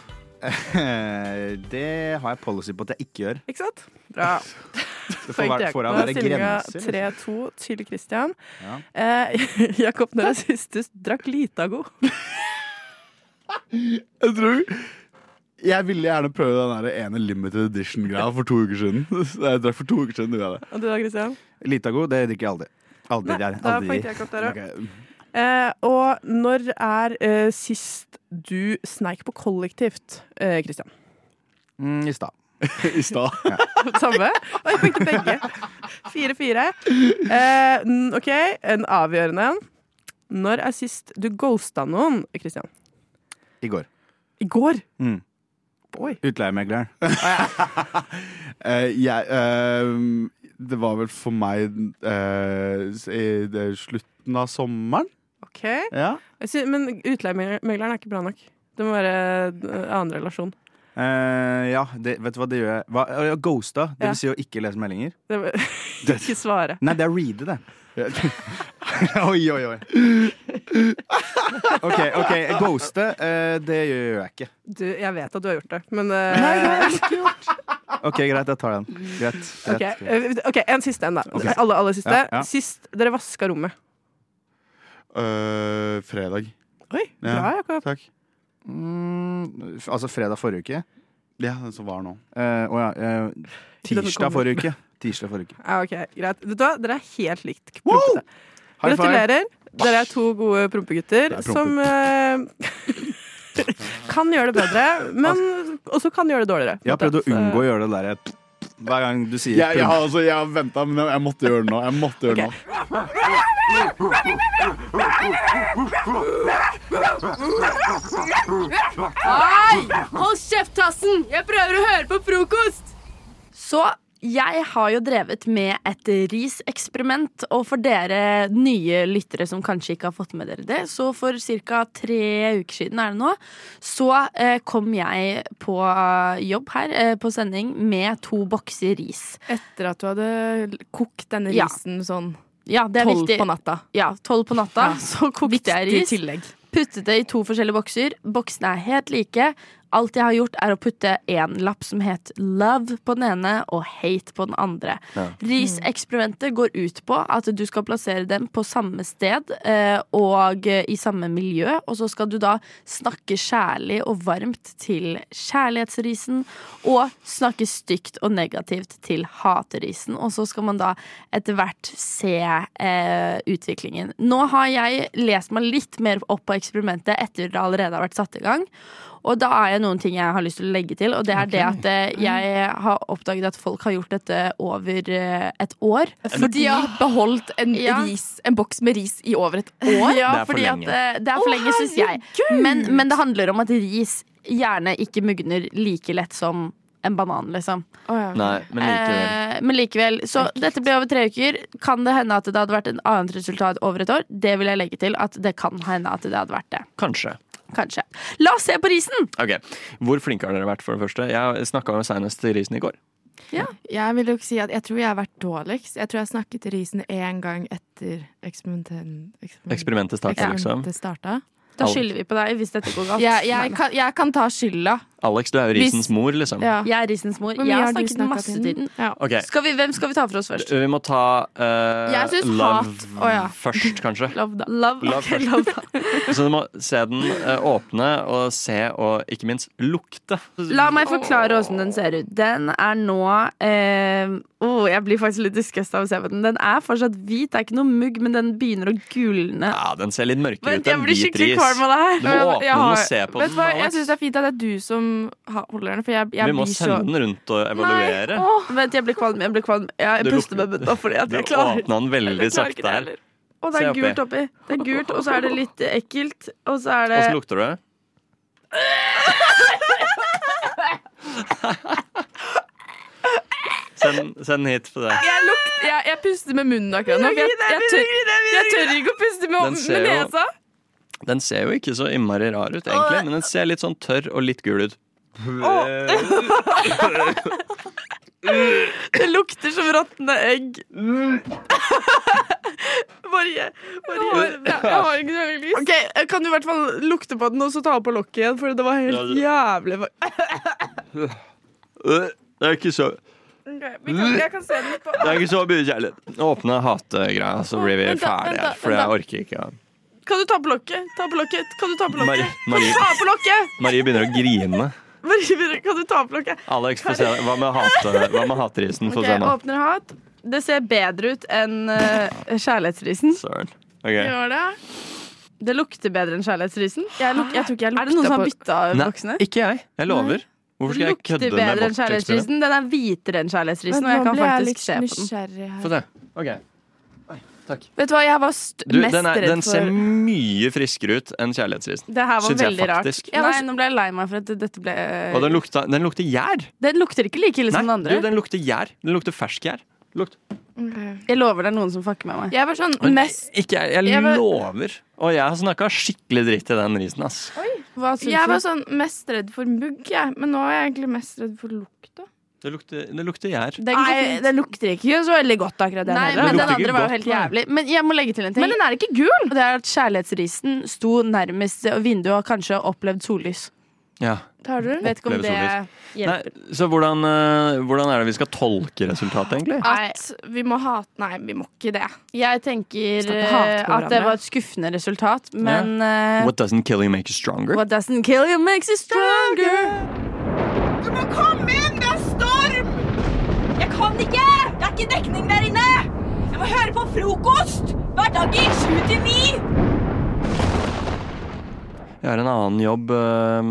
Speaker 9: Eh, det har jeg policy på at jeg ikke gjør.
Speaker 6: ikke sant? Bra.
Speaker 9: Det får være, får da være grenser. liksom.
Speaker 6: 3-2 til Christian.
Speaker 9: Ja.
Speaker 6: Eh, Jakob, når er sist du drakk Litago?
Speaker 8: Jeg tror Jeg ville gjerne prøve den der ene limited edition-greia for to uker siden. Jeg drakk for to uker siden. gjorde jeg det.
Speaker 6: Og du da, Christian?
Speaker 9: Litago, det drikker jeg aldri. Aldri
Speaker 6: Nei,
Speaker 9: der.
Speaker 6: da
Speaker 9: Aldri.
Speaker 6: poengte Jakob der òg.
Speaker 8: Ok.
Speaker 6: Eh, og når er eh, sist du sneik på kollektivt, eh, Christian?
Speaker 9: Mm, I stad.
Speaker 8: I stad.
Speaker 6: Samme? Oi, poeng til begge. Fire-fire. Eh, n- OK, en avgjørende en. Når er sist du ghosta noen, Christian?
Speaker 9: I går.
Speaker 6: I går?
Speaker 9: Mm.
Speaker 6: Oi.
Speaker 9: Utleiemegleren.
Speaker 8: Eh, jeg, eh, det var vel for meg eh, i det slutten av sommeren.
Speaker 6: OK.
Speaker 8: Ja.
Speaker 6: Jeg sy- Men utleiemegleren er ikke bra nok. Det må være eh, annen relasjon.
Speaker 9: Eh, ja, det, vet du hva det gjør jeg? Hva, ja, ghosta. Det
Speaker 6: Ja.
Speaker 9: vil si å ikke lese meldinger.
Speaker 6: Det må, ikke svare.
Speaker 9: Nei, det er reade, det.
Speaker 8: oi, oi, oi.
Speaker 9: OK, ok, ghoste, eh, det gjør jeg ikke.
Speaker 6: Du, jeg vet at du har gjort det, men eh,
Speaker 9: OK, greit, jeg tar den. Greit. greit,
Speaker 6: Ok,
Speaker 9: greit.
Speaker 6: eh, ok, en siste en, da.
Speaker 9: Ok.
Speaker 6: Alle, alle siste.
Speaker 9: Ja, ja.
Speaker 6: Sist dere vaska rommet.
Speaker 8: Eh, fredag.
Speaker 6: Oi,
Speaker 8: Ja.
Speaker 6: bra, Jakob.
Speaker 8: Takk.
Speaker 9: Mm, f- altså fredag forrige uke.
Speaker 8: Ja, den som var nå.
Speaker 9: Å ja. eh, tirsdag
Speaker 6: kommer.
Speaker 9: forrige uke. Tirsdag forrige uke.
Speaker 6: Ja, ok, greit. Vet du hva, dere er helt likt prompete. Gratulerer. Dere er to gode prompegutter
Speaker 9: Det er prompet.
Speaker 6: som eh, kan gjøre det bedre, men også kan gjøre det dårligere.
Speaker 9: Jeg har prøvd å unngå å gjøre det der hver gang du sier
Speaker 8: Jeg, jeg, har altså, jeg har venta, men jeg, jeg måtte gjøre det nå. Jeg måtte gjøre det nå.
Speaker 7: Hei! Hold kjeft, Tassen! Jeg prøver å høre på frokost! Så
Speaker 11: Jeg har jo drevet med et riseksperiment, og for dere nye lyttere som kanskje ikke har fått med dere det, så for ca. tre uker siden er det nå, så eh, kom jeg på eh, jobb her eh, på sending med to bokser ris.
Speaker 4: Etter at du hadde kokt denne
Speaker 11: Ja.
Speaker 4: risen sånn
Speaker 11: Ja, det er
Speaker 4: tolv
Speaker 11: viktig.
Speaker 4: på natta.
Speaker 11: Ja, tolv på natta,
Speaker 4: Ja.
Speaker 11: så kokte jeg
Speaker 4: Viktig
Speaker 11: ris.
Speaker 4: tillegg.
Speaker 11: Puttet det i to forskjellige bokser. Boksene er helt like. Alt jeg har gjort, er å putte en lapp som het love på den ene og hate på den andre.
Speaker 1: Ja.
Speaker 11: Riseksperimentet går ut på at du skal plassere dem på samme sted eh, og eh, i samme miljø, og så skal du da snakke kjærlig og varmt til kjærlighetsrisen, og snakke stygt og negativt til haterisen, og så skal man da etter hvert se eh, utviklingen. Nå har jeg lest meg litt mer opp på eksperimentet etter det allerede har vært satt i gang, og da er det noen ting jeg har lyst til å legge til, og det er det at eh, jeg har oppdaget at folk har gjort dette over eh, et år.
Speaker 4: Så de har beholdt en,
Speaker 11: Ja.
Speaker 4: ris, en boks med ris i over et år?
Speaker 11: Ja, fordi at eh, det er for
Speaker 4: Å,
Speaker 11: lenge, syns jeg.
Speaker 4: herregud!
Speaker 11: Men, men det handler om at ris gjerne ikke mugner like lett som en banan, liksom.
Speaker 5: Nei, men likevel.
Speaker 11: Eh, men likevel. Så dette ble over tre uker. Kan det hende at det hadde vært en annet resultat over et år? Det vil jeg legge til at det kan hende at det hadde vært det.
Speaker 5: Kanskje.
Speaker 11: Kanskje. La oss se på risen!
Speaker 5: Ok, Hvor flinke har dere vært, for det første? Jeg snakka senest til Risen i går.
Speaker 4: Jeg vil jo ikke si at jeg tror jeg har vært dårligst. Jeg tror jeg snakket til risen én gang etter eksperimenten- eksperiment-
Speaker 5: Eksperimentet startet, liksom.
Speaker 4: eksperimentet starta.
Speaker 5: Da skylder
Speaker 11: vi på deg hvis dette går galt.
Speaker 4: Jeg, jeg, kan, jeg kan ta skylda.
Speaker 5: Alex, du er jo Risens
Speaker 4: Hvis-
Speaker 5: mor, liksom.
Speaker 4: Ja.
Speaker 11: Jeg er risens mor.
Speaker 4: Hvor mye
Speaker 11: Jeg har
Speaker 4: har du
Speaker 11: snakket
Speaker 4: snakket
Speaker 11: masse
Speaker 4: inn?
Speaker 11: til den.
Speaker 5: Ok.
Speaker 11: Skal vi, hvem skal vi ta for oss først?
Speaker 5: Vi må ta eh,
Speaker 11: Jeg synes
Speaker 5: Love
Speaker 11: hat- Å, ja.
Speaker 5: først, kanskje.
Speaker 11: Love, da. Love,
Speaker 5: Love
Speaker 11: ok,
Speaker 5: først.
Speaker 11: love da.
Speaker 5: Så du må se den, eh, åpne og se, og ikke minst lukte.
Speaker 11: La meg forklare åssen den ser ut. Den er nå eh, oh, Jeg blir faktisk litt disgust av å se på den. Den er fortsatt hvit, det er ikke noe mugg, men den begynner å gulne.
Speaker 5: Ja, den ser litt mørkere
Speaker 11: Vent,
Speaker 5: ut
Speaker 11: jeg
Speaker 5: enn
Speaker 11: blir
Speaker 5: hvit
Speaker 11: skikkelig
Speaker 5: ris.
Speaker 11: kvalm av det her.
Speaker 5: Du må
Speaker 4: Jeg-
Speaker 5: åpne
Speaker 4: jeg
Speaker 5: den og
Speaker 4: har-
Speaker 5: se på
Speaker 4: vet
Speaker 5: den.
Speaker 4: du hva, Jeg
Speaker 5: Alex.
Speaker 4: syns det er fint at det er du som har- holder den, for jeg, jeg
Speaker 5: Vi må
Speaker 4: blir så
Speaker 5: sende den rundt og evaluere.
Speaker 11: Åh, vent, jeg blir kvalm. Jeg blir kvalm. Ja, jeg
Speaker 5: Du
Speaker 11: puster
Speaker 5: lukter-
Speaker 11: med bøtta fordi at
Speaker 5: Du
Speaker 11: jeg klarer
Speaker 5: åpna den veldig
Speaker 11: Jeg klarer ikke
Speaker 5: sakte her.
Speaker 11: det Og det
Speaker 5: Se
Speaker 11: er
Speaker 5: oppi.
Speaker 11: gult oppi. Det er gult, og så er det litt ekkelt. Og så er det
Speaker 5: Og så lukter det. Send, send den hit for deg.
Speaker 4: Jeg, lukter, jeg, jeg puster med munnen akkurat nå. for Jeg, jeg, tør, jeg tør ikke å puste med,
Speaker 5: Den ser
Speaker 4: med
Speaker 5: jo-
Speaker 4: nesa.
Speaker 5: Den ser jo ikke så innmari rar ut, egentlig, men den ser litt sånn tørr og litt gul ut.
Speaker 11: Det lukter som råtne egg. Marie, Marie.
Speaker 4: Jeg har ikke så veldig lyst.
Speaker 11: Ok, Kan du i hvert fall lukte på den og så ta på lokket igjen? For det var helt jævlig
Speaker 5: Det er ikke så
Speaker 4: jeg kan se den på
Speaker 5: Det er ikke så mye kjærlighet. Åpne hategreia, så blir vi
Speaker 11: Vent da, vent
Speaker 5: ferdige.
Speaker 11: da,
Speaker 5: For
Speaker 11: vent da.
Speaker 5: jeg orker ikke.
Speaker 11: Kan du ta på lokket? Ta på lokket? Kan du ta på lokket?
Speaker 5: Marie, Marie,
Speaker 11: Ta på lokket!
Speaker 5: Marie begynner å grine.
Speaker 11: Marie, Kan du ta på lokket?
Speaker 5: Alex, få se. Hva med, hate, hva med haterisen? Få
Speaker 11: Ok,
Speaker 5: se nå.
Speaker 11: Åpner hat. Det ser bedre ut enn eh, kjærlighetsrisen.
Speaker 5: Søren. Ok.
Speaker 4: Gjør det.
Speaker 11: Det lukter bedre enn kjærlighetsrisen. Jeg, luk, jeg tror ikke jeg
Speaker 4: Er det noen som har
Speaker 11: bytta
Speaker 5: Nei, ikke jeg. Jeg lover. Hvorfor skal jeg kødde
Speaker 11: bedre
Speaker 5: med
Speaker 11: enn
Speaker 5: vårt eksperiment?
Speaker 11: kjærlighetsrisen. Den er hvitere enn kjærlighetsrisen, og
Speaker 4: Nå
Speaker 11: jeg kan
Speaker 4: ble jeg
Speaker 11: faktisk
Speaker 4: litt
Speaker 11: se på den.
Speaker 4: nysgjerrig her.
Speaker 5: Få se. Ok.
Speaker 4: Vet du hva, jeg var st
Speaker 5: Du,
Speaker 4: mest
Speaker 5: den, er,
Speaker 4: redd
Speaker 5: den ser
Speaker 4: for
Speaker 5: mye friskere ut enn kjærlighetsrisen.
Speaker 11: Det her var
Speaker 5: Syns jeg
Speaker 11: veldig rart.
Speaker 5: faktisk.
Speaker 11: Jeg var, nei, nå ble jeg lei meg for at dette ble eh,
Speaker 5: Og den, lukta, den lukter gjær.
Speaker 11: Den lukter ikke like ille
Speaker 5: Nei,
Speaker 11: som den
Speaker 5: du,
Speaker 11: andre.
Speaker 5: den lukter gjær. Den lukter fersk gjær. Lukt.
Speaker 11: Jeg lover det er noen som fucker med meg.
Speaker 4: Jeg var sånn
Speaker 5: Men
Speaker 4: mest
Speaker 5: Ikke jeg. Jeg
Speaker 4: Jeg var-
Speaker 5: lover. Og jeg har snakka skikkelig dritt i den risen, ass.
Speaker 11: Hva syns
Speaker 4: jeg var
Speaker 11: du?
Speaker 4: sånn mest redd for mugg, jeg. Men nå er jeg egentlig mest redd for lukta.
Speaker 5: Det lukter, det lukter gjær.
Speaker 11: Den går fint.
Speaker 4: den lukter ikke så veldig godt, akkurat
Speaker 11: Nei,
Speaker 5: Den
Speaker 11: men den
Speaker 5: lukter ikke
Speaker 11: andre var jo
Speaker 5: godt,
Speaker 11: helt jævlig. Men jeg må legge til en ting.
Speaker 4: Men den er ikke gul!
Speaker 11: Og det er at Kjærlighetsrisen sto nærmest vinduet og kanskje opplevd sollys.
Speaker 5: Ja.
Speaker 4: Tar du den?
Speaker 11: Vet ikke om det
Speaker 5: Opplevd sollys. Nei,
Speaker 11: hjelper.
Speaker 5: så hvordan, eh, hvordan er det vi skal tolke resultatet, egentlig?
Speaker 4: At vi må hate Nei, vi må ikke det.
Speaker 11: Jeg tenker
Speaker 4: Skal ikke hate
Speaker 11: eh, at
Speaker 4: på
Speaker 11: det
Speaker 4: hverandre.
Speaker 11: var et skuffende resultat, men eh,
Speaker 5: What doesn't kill you make you stronger?
Speaker 11: What doesn't kill you makes you stronger.
Speaker 1: Jeg kan ikke! Det er ikke dekning der inne! Jeg må høre på frokost! Hverdager 7 til 9!
Speaker 5: Jeg har en annen jobb eh,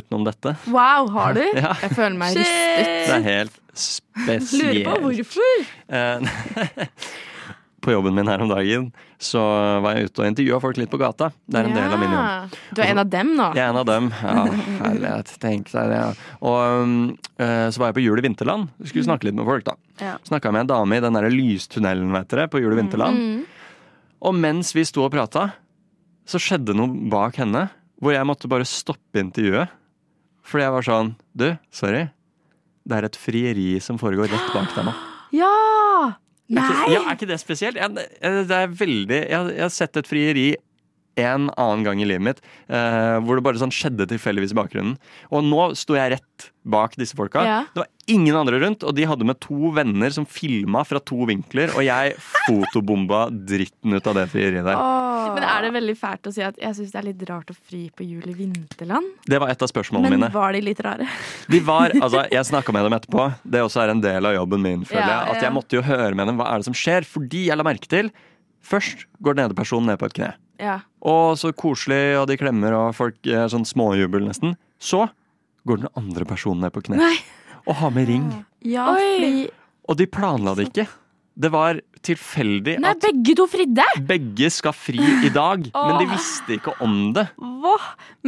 Speaker 5: utenom dette.
Speaker 11: Wow, har du?
Speaker 5: Ja,
Speaker 4: Jeg føler meg
Speaker 11: Shit.
Speaker 4: ristet.
Speaker 5: det er helt spesielt.
Speaker 11: Lurer på hvorfor.
Speaker 5: Eh, på jobben min her om dagen, så var jeg ute og intervjua folk litt på gata. Det er en del av min jobb.
Speaker 12: Du er en av dem nå?
Speaker 5: Jeg er en av dem. Ja, herlighet. Tenk deg det. Og um, eh, så var jeg på Jul i Vinterland. Skulle snakke litt med folk, da.
Speaker 12: Mm. Ja. Mm.
Speaker 5: Snakka med en dame i den derre lystunnelen, vet dere, på Jul i Vinterland. Og mens vi sto og prata, så skjedde noe bak henne hvor jeg måtte bare stoppe intervjuet. Fordi jeg var sånn Du, sorry. Det er et frieri som foregår rett bak deg nå.
Speaker 7: Ja!
Speaker 5: Er ikke, ja, er ikke det spesielt? Jeg, jeg- det er veldig, jeg, jeg har sett et frieri en annen gang i livet mitt, eh, hvor det bare sånn skjedde tilfeldigvis i bakgrunnen. Og nå sto jeg rett bak disse folka.
Speaker 12: Ja.
Speaker 5: Det var ingen andre rundt, og de hadde med to venner som filma fra to vinkler, og jeg fotobomba dritten ut av det frieriet der.
Speaker 12: Men er det veldig fælt å si at jeg syns det er litt rart å fri på jul i vinterland?
Speaker 5: Det var et av spørsmålene mine.
Speaker 12: var de litt rare?
Speaker 5: De var, altså, jeg snakka med dem etterpå. Det også er en del av jobben min. føler
Speaker 12: Ja,
Speaker 5: jeg At
Speaker 12: ja.
Speaker 5: jeg måtte jo høre med dem hva er det som skjer. Fordi jeg la merke til Først går den ene personen ned på et kne.
Speaker 12: Ja.
Speaker 5: Og så koselig, og de klemmer, og folk eh, sånn småjubel nesten. Så går den andre personen ned på kne og har med ring.
Speaker 7: Ja, fordi
Speaker 5: Og de planla det ikke. Det var tilfeldig
Speaker 12: Nei,
Speaker 5: at
Speaker 12: begge to fridde!
Speaker 5: begge skal fri i dag, men de visste ikke om det.
Speaker 7: Hva?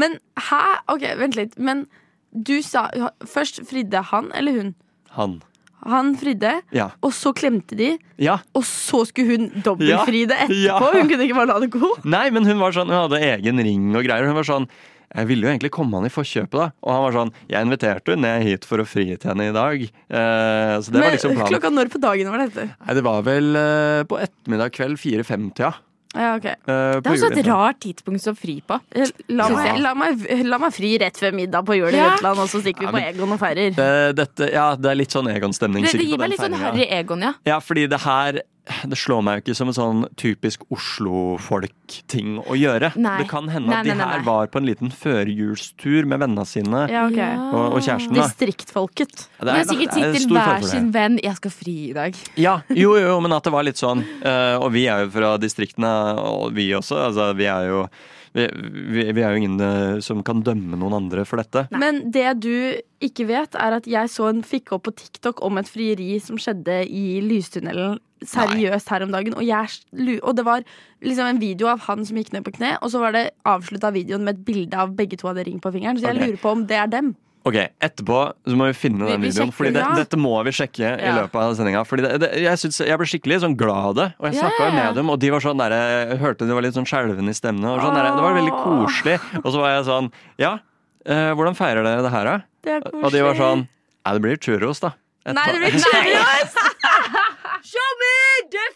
Speaker 7: Men hæ? Ok, vent litt. Men du sa Først fridde han eller hun.
Speaker 5: Han.
Speaker 7: Han fridde,
Speaker 5: Ja.
Speaker 7: og så klemte de.
Speaker 5: Ja.
Speaker 7: Og så skulle hun dobbeltfride
Speaker 5: Ja.
Speaker 7: etterpå.
Speaker 5: Ja.
Speaker 7: Hun kunne ikke bare la det gå.
Speaker 5: Nei, men hun var sånn, hun hadde egen ring og greier. Hun var sånn jeg ville jo egentlig komme han i forkjøpet, da. Og han var sånn Jeg inviterte henne ned hit for å fri til henne i dag. Eh, så det var
Speaker 7: Men
Speaker 5: liksom planen.
Speaker 7: klokka når på dagen var dette?
Speaker 5: Nei, det var vel eh, på ettermiddag kveld 4.50, ja.
Speaker 7: Ja, ok
Speaker 5: Eh,
Speaker 12: Det
Speaker 5: på
Speaker 12: er også et
Speaker 5: julefrokosten.
Speaker 12: rart tidspunkt å fri på.
Speaker 7: La
Speaker 5: Ja.
Speaker 7: meg, la, meg, la meg fri rett før middag på jul i
Speaker 12: Ja.
Speaker 7: Jutland, og så stikker
Speaker 5: Ja,
Speaker 7: vi på
Speaker 5: men-
Speaker 7: Egon og feirer.
Speaker 5: Eh, dette, ja, det er litt sånn Egon-stemning
Speaker 12: Det, det
Speaker 5: sikkert
Speaker 12: gir
Speaker 5: på
Speaker 12: meg
Speaker 5: den
Speaker 12: litt sånn
Speaker 5: feiringa.
Speaker 12: harry Egon, ja.
Speaker 5: Ja, fordi det her det slår meg jo ikke som en sånn typisk Oslo-folk-ting å gjøre.
Speaker 12: Nei.
Speaker 5: Det kan hende
Speaker 12: Nei,
Speaker 5: at de
Speaker 12: nei, nei,
Speaker 5: her
Speaker 12: nei.
Speaker 5: var på en liten førjulstur med vennene sine
Speaker 7: Ja, ok
Speaker 5: og, og kjæresten. da.
Speaker 7: Distriktfolket.
Speaker 5: Ja,
Speaker 12: Men sikkert
Speaker 5: det er
Speaker 12: sitt til
Speaker 5: stor fare
Speaker 12: hver
Speaker 5: for det.
Speaker 12: sin venn 'jeg skal fri i dag'.
Speaker 5: Ja, jo, jo, men at det var litt sånn eh, Og vi er jo fra distriktene, og vi også. Altså, vi er jo vi, vi, vi er jo ingen eh, som kan dømme noen andre for dette.
Speaker 7: Men det du ikke vet, er at jeg så en fikk opp på TikTok om et frieri som skjedde i lystunnelen seriøst her om dagen. Og, jeg, slu- og det var liksom en video av han som gikk ned på kne, og så var det avslutta videoen med et bilde av begge to hadde ring på fingeren. Så jeg
Speaker 5: Ok.
Speaker 7: lurer på om det er dem.
Speaker 5: Ok, Etterpå så må vi finne
Speaker 7: Vi-
Speaker 5: den
Speaker 7: vi sjekker
Speaker 5: videoen, Fordi
Speaker 7: den,
Speaker 5: det,
Speaker 7: ja.
Speaker 5: dette må vi sjekke i
Speaker 7: Ja.
Speaker 5: løpet av sendinga. Fordi det, det, jeg, synes, jeg ble skikkelig sånn glad av det, og jeg
Speaker 7: Ja,
Speaker 5: snakka
Speaker 7: ja, ja.
Speaker 5: med dem, og de var sånn der, jeg hørte de var litt sånn skjelvende i stemmen. Og sånn der, det var veldig
Speaker 7: Åh.
Speaker 5: koselig. Og så var jeg sånn Ja, eh, hvordan feirer dere det her, da?
Speaker 7: Det er
Speaker 5: Og de var sånn Ja, det blir churros, da. Etterpå.
Speaker 7: Nei, det blir seriøst!
Speaker 1: Tommy, det er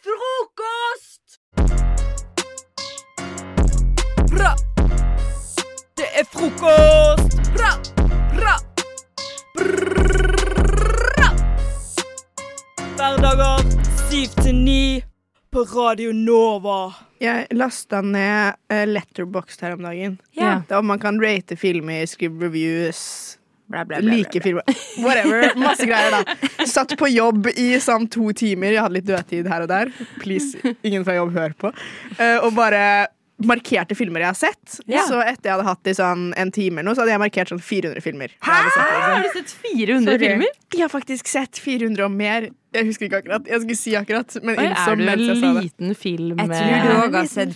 Speaker 1: frokost! Bra! Det er frokost! Bra! Bra! Bra! Hverdager 7 til 9 på Radio Nova.
Speaker 13: Jeg lasta ned eh, Letterboxd her om dagen.
Speaker 12: Ja.
Speaker 13: Der man kan rate filmer, skrive reviews,
Speaker 12: bla, bla,
Speaker 13: like filmer Whatever. Masse greier, da. Satt på jobb i sånn to timer. Jeg hadde litt dødtid her og der. Please, ingen fra jobb hører på. Eh, og bare markerte filmer jeg har sett.
Speaker 12: Ja.
Speaker 13: Så etter jeg hadde hatt i sånn en time eller noe, så hadde jeg markert sånn 400 filmer.
Speaker 7: Ah,
Speaker 12: Har du sett 400
Speaker 13: Sorry.
Speaker 12: filmer?
Speaker 13: Jeg har faktisk sett 400 og mer. Jeg husker ikke akkurat. Jeg skulle si akkurat, men
Speaker 12: Oi,
Speaker 13: innså
Speaker 12: er du en
Speaker 13: mens jeg sa det.
Speaker 12: liten film
Speaker 13: Jeg
Speaker 12: eh,
Speaker 13: tror du
Speaker 3: også har sett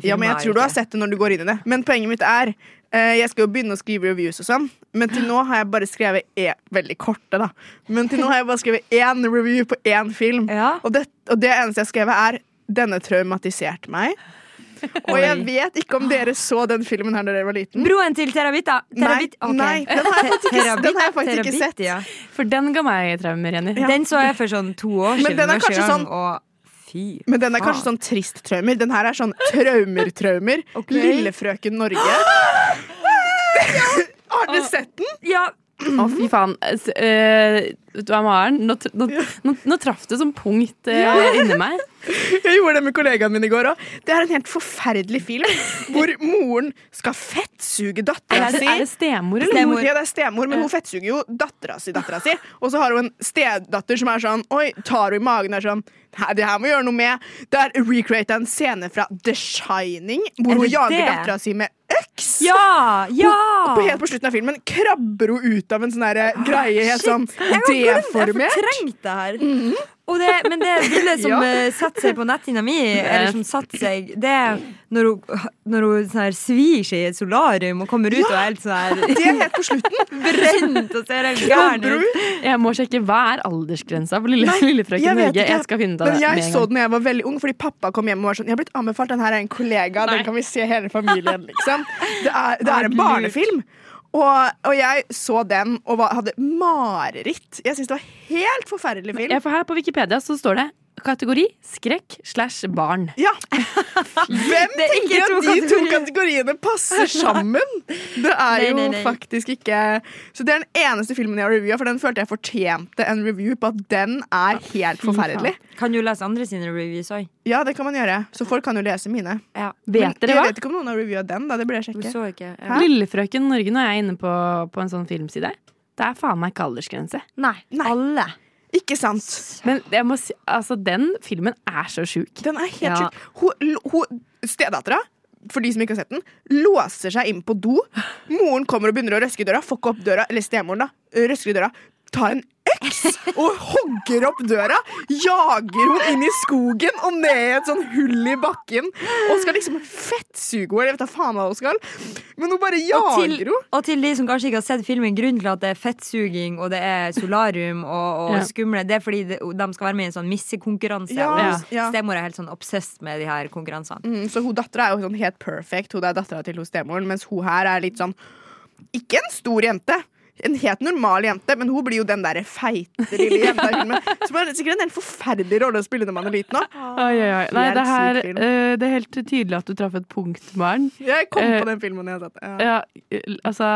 Speaker 13: Ja, men jeg
Speaker 3: filmer,
Speaker 13: tror du
Speaker 3: ikke?
Speaker 13: har sett det når du går inn i det. Men poenget mitt er eh, Jeg skal jo begynne å skrive reviews og sånn, men til nå har jeg bare skrevet e Veldig korte, da. Men til nå har jeg bare skrevet én review på én film. Og, det, og det eneste jeg har skrevet, er 'Denne traumatiserte meg'. Og jeg
Speaker 3: Oi.
Speaker 13: vet ikke om dere så den filmen her da dere var liten.
Speaker 3: Broen til Terabita. Terabit, ok.
Speaker 13: Nei, nei, den har jeg faktisk ikke- den har jeg faktisk ikke
Speaker 3: Terabit,
Speaker 13: sett.
Speaker 3: ja.
Speaker 12: For den ga meg traumer, Jenny.
Speaker 3: Den så jeg for sånn to år
Speaker 13: Men
Speaker 3: siden.
Speaker 13: den er
Speaker 3: første
Speaker 13: kanskje
Speaker 3: gang,
Speaker 13: sånn-
Speaker 3: og fy
Speaker 13: Men den er kanskje
Speaker 3: faen.
Speaker 13: sånn trist-traumer. Den her er sånn traumer-traumer. Lille frøken Norge. Har dere sett den?
Speaker 3: Ja.
Speaker 12: Å, fy faen. S- eh, Vet du hva, Maren? Nå, tr- nå, nå, nå traff det
Speaker 11: sånn
Speaker 12: som punkt eh, inni meg.
Speaker 13: Jeg gjorde det med kollegaen min i går òg. Det er en helt forferdelig film hvor moren skal fettsuge
Speaker 12: Er
Speaker 13: dattera
Speaker 12: det,
Speaker 13: si.
Speaker 12: er det stemor, eller?
Speaker 13: Stemor. Ja, det er stemor, men hun fettsuger jo dattera si, dattera si. Og så har hun en stedatter som er sånn Oi, tar hun i magen og er sånn Nei, det her må vi gjøre noe med. Det er recreata en scene fra The Shining hvor
Speaker 3: Er
Speaker 13: hun
Speaker 3: det
Speaker 13: jager
Speaker 3: det?
Speaker 13: dattera si med øks.
Speaker 3: Ja! Ja! Ah,
Speaker 13: Og på, helt på slutten av filmen krabber hun ut av en sånn der greie helt sånn
Speaker 3: Jeg har glemt- jeg har
Speaker 13: deformert. Mhm.
Speaker 3: fortrengt det her. Å, Og det, men det bildet som
Speaker 1: Ja.
Speaker 3: eh, setter seg på netthinna mi, eller som satte seg, det er når hun, når hun sånn her svir seg i et solarium og kommer ut og er helt sånn her
Speaker 13: Det er helt på slutten.
Speaker 3: Brent og ser helt gæren ut.
Speaker 11: Jeg må sjekke hva er aldersgrensa for lille,
Speaker 13: Nei,
Speaker 11: lillefrøken
Speaker 13: jeg vet
Speaker 11: Norge.
Speaker 13: ikke.
Speaker 11: Jeg skal finne ut av
Speaker 13: Men
Speaker 11: det.
Speaker 13: jeg
Speaker 11: med en
Speaker 13: så
Speaker 11: gang.
Speaker 13: den da jeg var veldig ung, fordi pappa kom hjem og var sånn Jeg har blitt anbefalt, den her er en kollega, den kan vi se hele familien, liksom. Det er, det er en barnefilm. Og, og jeg så den og var, hadde mareritt. Jeg syns det var helt forferdelig film.
Speaker 11: Ja, for her på Wikipedia så står det kategori skrekk slash barn.
Speaker 13: Ja. Hvem tenker at de to kategoriene passer sammen? Det er
Speaker 11: Nei,
Speaker 13: jo
Speaker 11: nei, nei.
Speaker 13: faktisk ikke Så det er den eneste filmen jeg har reviewa, for den følte jeg fortjente en review på at den er helt forferdelig.
Speaker 3: Kan du lese andre sine reviews òg?
Speaker 13: Ja, det kan man gjøre. Så folk kan jo lese mine.
Speaker 11: Vet
Speaker 13: Men
Speaker 11: dere
Speaker 13: jeg
Speaker 11: hva?
Speaker 13: vet ikke om noen har reviewa den. da, det burde jeg sjekke. Hæ?
Speaker 11: Lillefrøken Norge, når jeg er inne på, på en sånn filmside, det er faen meg ikke aldersgrense.
Speaker 3: Nei, alle.
Speaker 13: Ikke sant.
Speaker 11: Men jeg må si, altså, den filmen er så sjuk.
Speaker 13: Den er helt
Speaker 11: Ja.
Speaker 13: sjuk. Hun, hun, stedattera, for de som ikke har sett den, låser seg inn på do. Moren kommer og begynner å røske i døra. Får ikke opp døra, eller stemoren, da. øh, Røsker i døra. Tar en øks og hogger opp døra. Jager hun inn i skogen og ned i et sånn hull i bakken. Og skal liksom fettsuge henne, eller jeg vet da faen hva hun skal. Men hun bare
Speaker 3: Og til,
Speaker 13: jager henne.
Speaker 3: og til de som kanskje ikke har sett filmen, grunnen til at det er fettsuging og det er solarium og, og
Speaker 13: Ja.
Speaker 3: skumle, det er fordi de, de skal være med i en sånn missekonkurranse.
Speaker 13: Ja,
Speaker 3: og
Speaker 13: ja.
Speaker 3: stemor er helt sånn obsessed med de her konkurransene.
Speaker 13: Mm, så hun dattera er jo sånn helt perfect, hun er dattera til hun stemoren, mens hun her er litt sånn Ikke en stor jente. En helt normal jente, men hun blir jo den derre feite lille jenta i filmen. Som er sikkert en helt forferdelig rolle å spille når man er liten òg.
Speaker 11: Oi, oi, oi. Nei,
Speaker 13: Helt
Speaker 11: det, her,
Speaker 13: syk film.
Speaker 11: eh, det er helt tydelig at du traff et punkt, Maren.
Speaker 13: Jeg kom
Speaker 11: Eh,
Speaker 13: på den filmen da jeg satt ja.
Speaker 11: Ja, eh, altså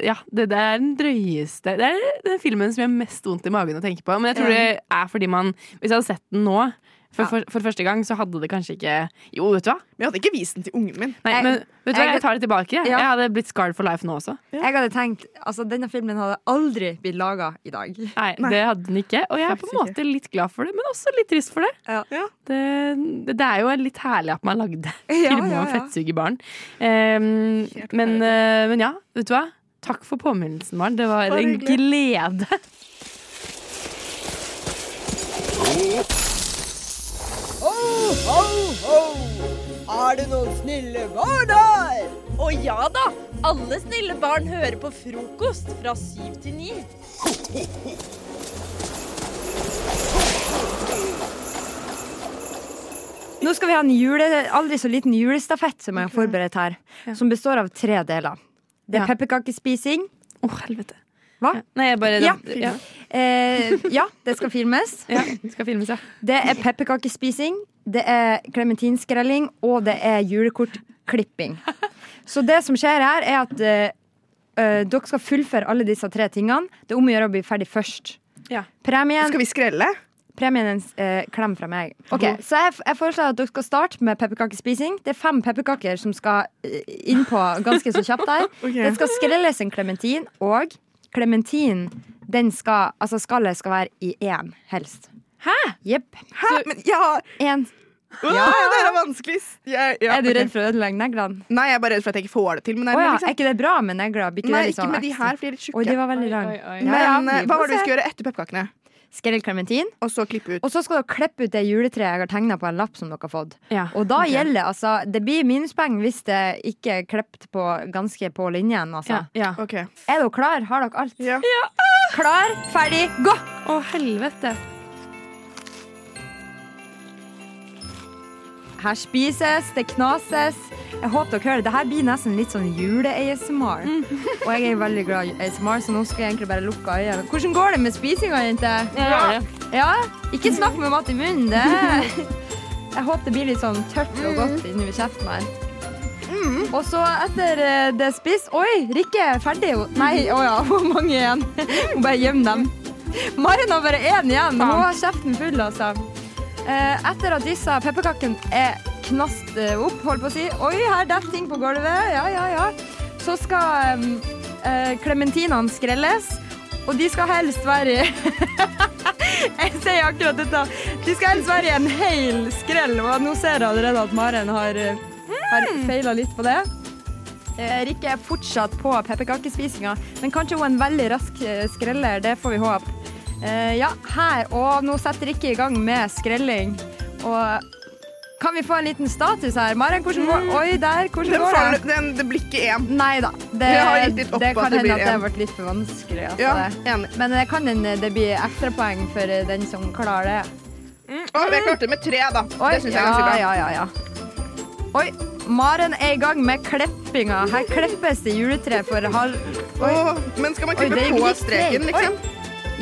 Speaker 11: ja, det, det er den drøyeste Det er den filmen som gjør mest vondt i magen å tenke på. Men jeg tror
Speaker 13: Ja.
Speaker 11: det er fordi man Hvis jeg hadde sett den nå for, for, for første gang, så hadde det kanskje ikke Jo, vet du hva?
Speaker 13: Men jeg hadde ikke vist den til ungen min.
Speaker 11: Nei,
Speaker 3: Jeg-
Speaker 11: men vet du hva,
Speaker 3: jeg-
Speaker 11: jeg tar det tilbake. Jeg,
Speaker 3: Ja.
Speaker 11: jeg hadde blitt scarred for life nå også.
Speaker 3: Jeg hadde tenkt, altså Denne filmen hadde aldri blitt laga i dag.
Speaker 11: Nei, det hadde den ikke. Og jeg er på en måte litt glad for det, men også litt trist for det. Det, det er jo litt herlig at man lagde film
Speaker 13: ja,
Speaker 11: om
Speaker 13: ja.
Speaker 11: fettsugerbarn. Ehm, men, eh, men ja, vet du hva? Takk for påminnelsen, Maren. Det var
Speaker 13: Bare
Speaker 11: en
Speaker 13: hyggelig.
Speaker 11: glede.
Speaker 14: Ho, ho, ho! Er det noen snille barn her?
Speaker 7: Å ja da! Alle snille barn hører på frokost fra syv til ni.
Speaker 3: Nå skal vi ha en jule, aldri så liten julestafett som jeg har forberedt her. Som består av tre deler. Det er
Speaker 11: Ja.
Speaker 3: pepperkakespising.
Speaker 11: Å, helvete.
Speaker 3: Hva?
Speaker 11: Nei, jeg bare
Speaker 3: Ja.
Speaker 11: ja.
Speaker 3: Eh, ja, det skal filmes.
Speaker 11: det skal filmes, ja.
Speaker 3: Det er pepperkakespising, det er clementinskrelling, og det er julekortklipping. Så det som skjer her, er at eh, eh, dere skal fullføre alle disse tre tingene. Det er om å gjøre å bli ferdig først.
Speaker 11: Ja.
Speaker 3: Premien
Speaker 13: Skal vi skrelle?
Speaker 3: Premien er en eh, klem fra meg. Ok, Så jeg, jeg foreslår at dere skal starte med pepperkakespising. Det er fem pepperkaker som skal eh, innpå ganske så kjapt der.
Speaker 13: Ok.
Speaker 3: Det skal skrelles en klementin, og klementinen, den skal Altså skallet skal være i én, helst.
Speaker 11: Hæ?
Speaker 3: Jepp.
Speaker 13: Hæ? Men jeg har
Speaker 3: Én.
Speaker 13: Åh,
Speaker 3: Ja.
Speaker 13: Det her er vanskelig. Jeg, ja,
Speaker 3: Er du
Speaker 13: ok.
Speaker 3: redd for å ødelegge neglene?
Speaker 13: Nei, jeg er bare redd for at jeg ikke får det til. Men det
Speaker 3: Å
Speaker 13: er
Speaker 3: ja,
Speaker 13: liksom-
Speaker 3: er ikke det bra med negler? Blir ikke
Speaker 13: Nei,
Speaker 3: det litt
Speaker 13: ikke
Speaker 3: sånn
Speaker 13: med de
Speaker 3: ekstra?
Speaker 13: her, for de er litt tjukke.
Speaker 3: Oi, de var veldig lange.
Speaker 13: Men eh, hva var det vi skulle gjøre
Speaker 3: etter?
Speaker 13: etter pepperkakene?
Speaker 3: Skrell klementin.
Speaker 13: Og så klippe ut.
Speaker 3: Og så skal dere klippe ut det juletreet jeg har tegna på en lapp som dere har fått.
Speaker 11: Ja,
Speaker 3: Og da
Speaker 11: ok.
Speaker 3: gjelder altså Det blir minuspoeng hvis det ikke er klippet på ganske på linjen, altså.
Speaker 11: Ja.
Speaker 3: Er dere klar? Har dere alt?
Speaker 13: Ja.
Speaker 3: Klar, ferdig, gå!
Speaker 11: Å, helvete.
Speaker 3: Her spises, det knases. Jeg håper dere hører det. Dette blir nesten litt sånn jule-ASMR. Og jeg er veldig glad i ASMR, så nå skal jeg egentlig bare lukke øynene. Hvordan går det med spisinga, jenter?
Speaker 11: Ja.
Speaker 3: Ja? Ikke snakk med mat i munnen. Det. Jeg håper det blir litt sånn tørt og godt inni kjeften her. Og så etter eh, det er spist Oi, Rikke er ferdig. Nei, å ja, hvor mange igjen? Hun bare gjemmer dem. Maren har bare én igjen. Hun har kjeften full, altså. Eh, Etter at disse pepperkakene er knast eh, opp, holdt på å si Oi, her detter ting på gulvet. Ja, ja, ja. Så skal eh, klementinene skrelles. Og de skal helst være i Jeg sier akkurat dette. De skal helst være i en hel skrell. Og nå ser jeg allerede at Maren har, eh, har feila litt på det. Eh, Rikke er fortsatt på pepperkakespisinga, men kanskje hun er en veldig rask eh, skreller. Det får vi håpe. Eh, ja, her. Og nå setter Rikke i gang med skrelling. Og kan vi få en liten status her? Maren, hvordan går Oi, der.
Speaker 13: Mm.
Speaker 3: Hvordan
Speaker 13: Den
Speaker 3: går
Speaker 13: faller-
Speaker 3: det?
Speaker 13: den, det blir ikke én.
Speaker 3: Nei da. Det,
Speaker 13: Jeg har gitt litt opp
Speaker 3: det
Speaker 13: på at
Speaker 3: kan
Speaker 13: det blir
Speaker 3: hende at det
Speaker 13: en.
Speaker 3: har vært litt for vanskelig. Altså.
Speaker 13: Ja,
Speaker 3: Men det kan en, det blir ekstrapoeng for eh, den som klarer det.
Speaker 13: Mm. Å, jeg klarte det med tre, da.
Speaker 3: Oi,
Speaker 13: det syns jeg er
Speaker 3: ja,
Speaker 13: ganske bra.
Speaker 3: Ja, ja, ja. Oi, Maren er i gang med klippinga. Her klippes det juletre for halv... Oi.
Speaker 13: men skal man
Speaker 3: Oi,
Speaker 13: klippe
Speaker 3: det gikk
Speaker 13: på
Speaker 3: litt
Speaker 13: streken,
Speaker 3: treigt.
Speaker 13: liksom?
Speaker 3: Oi.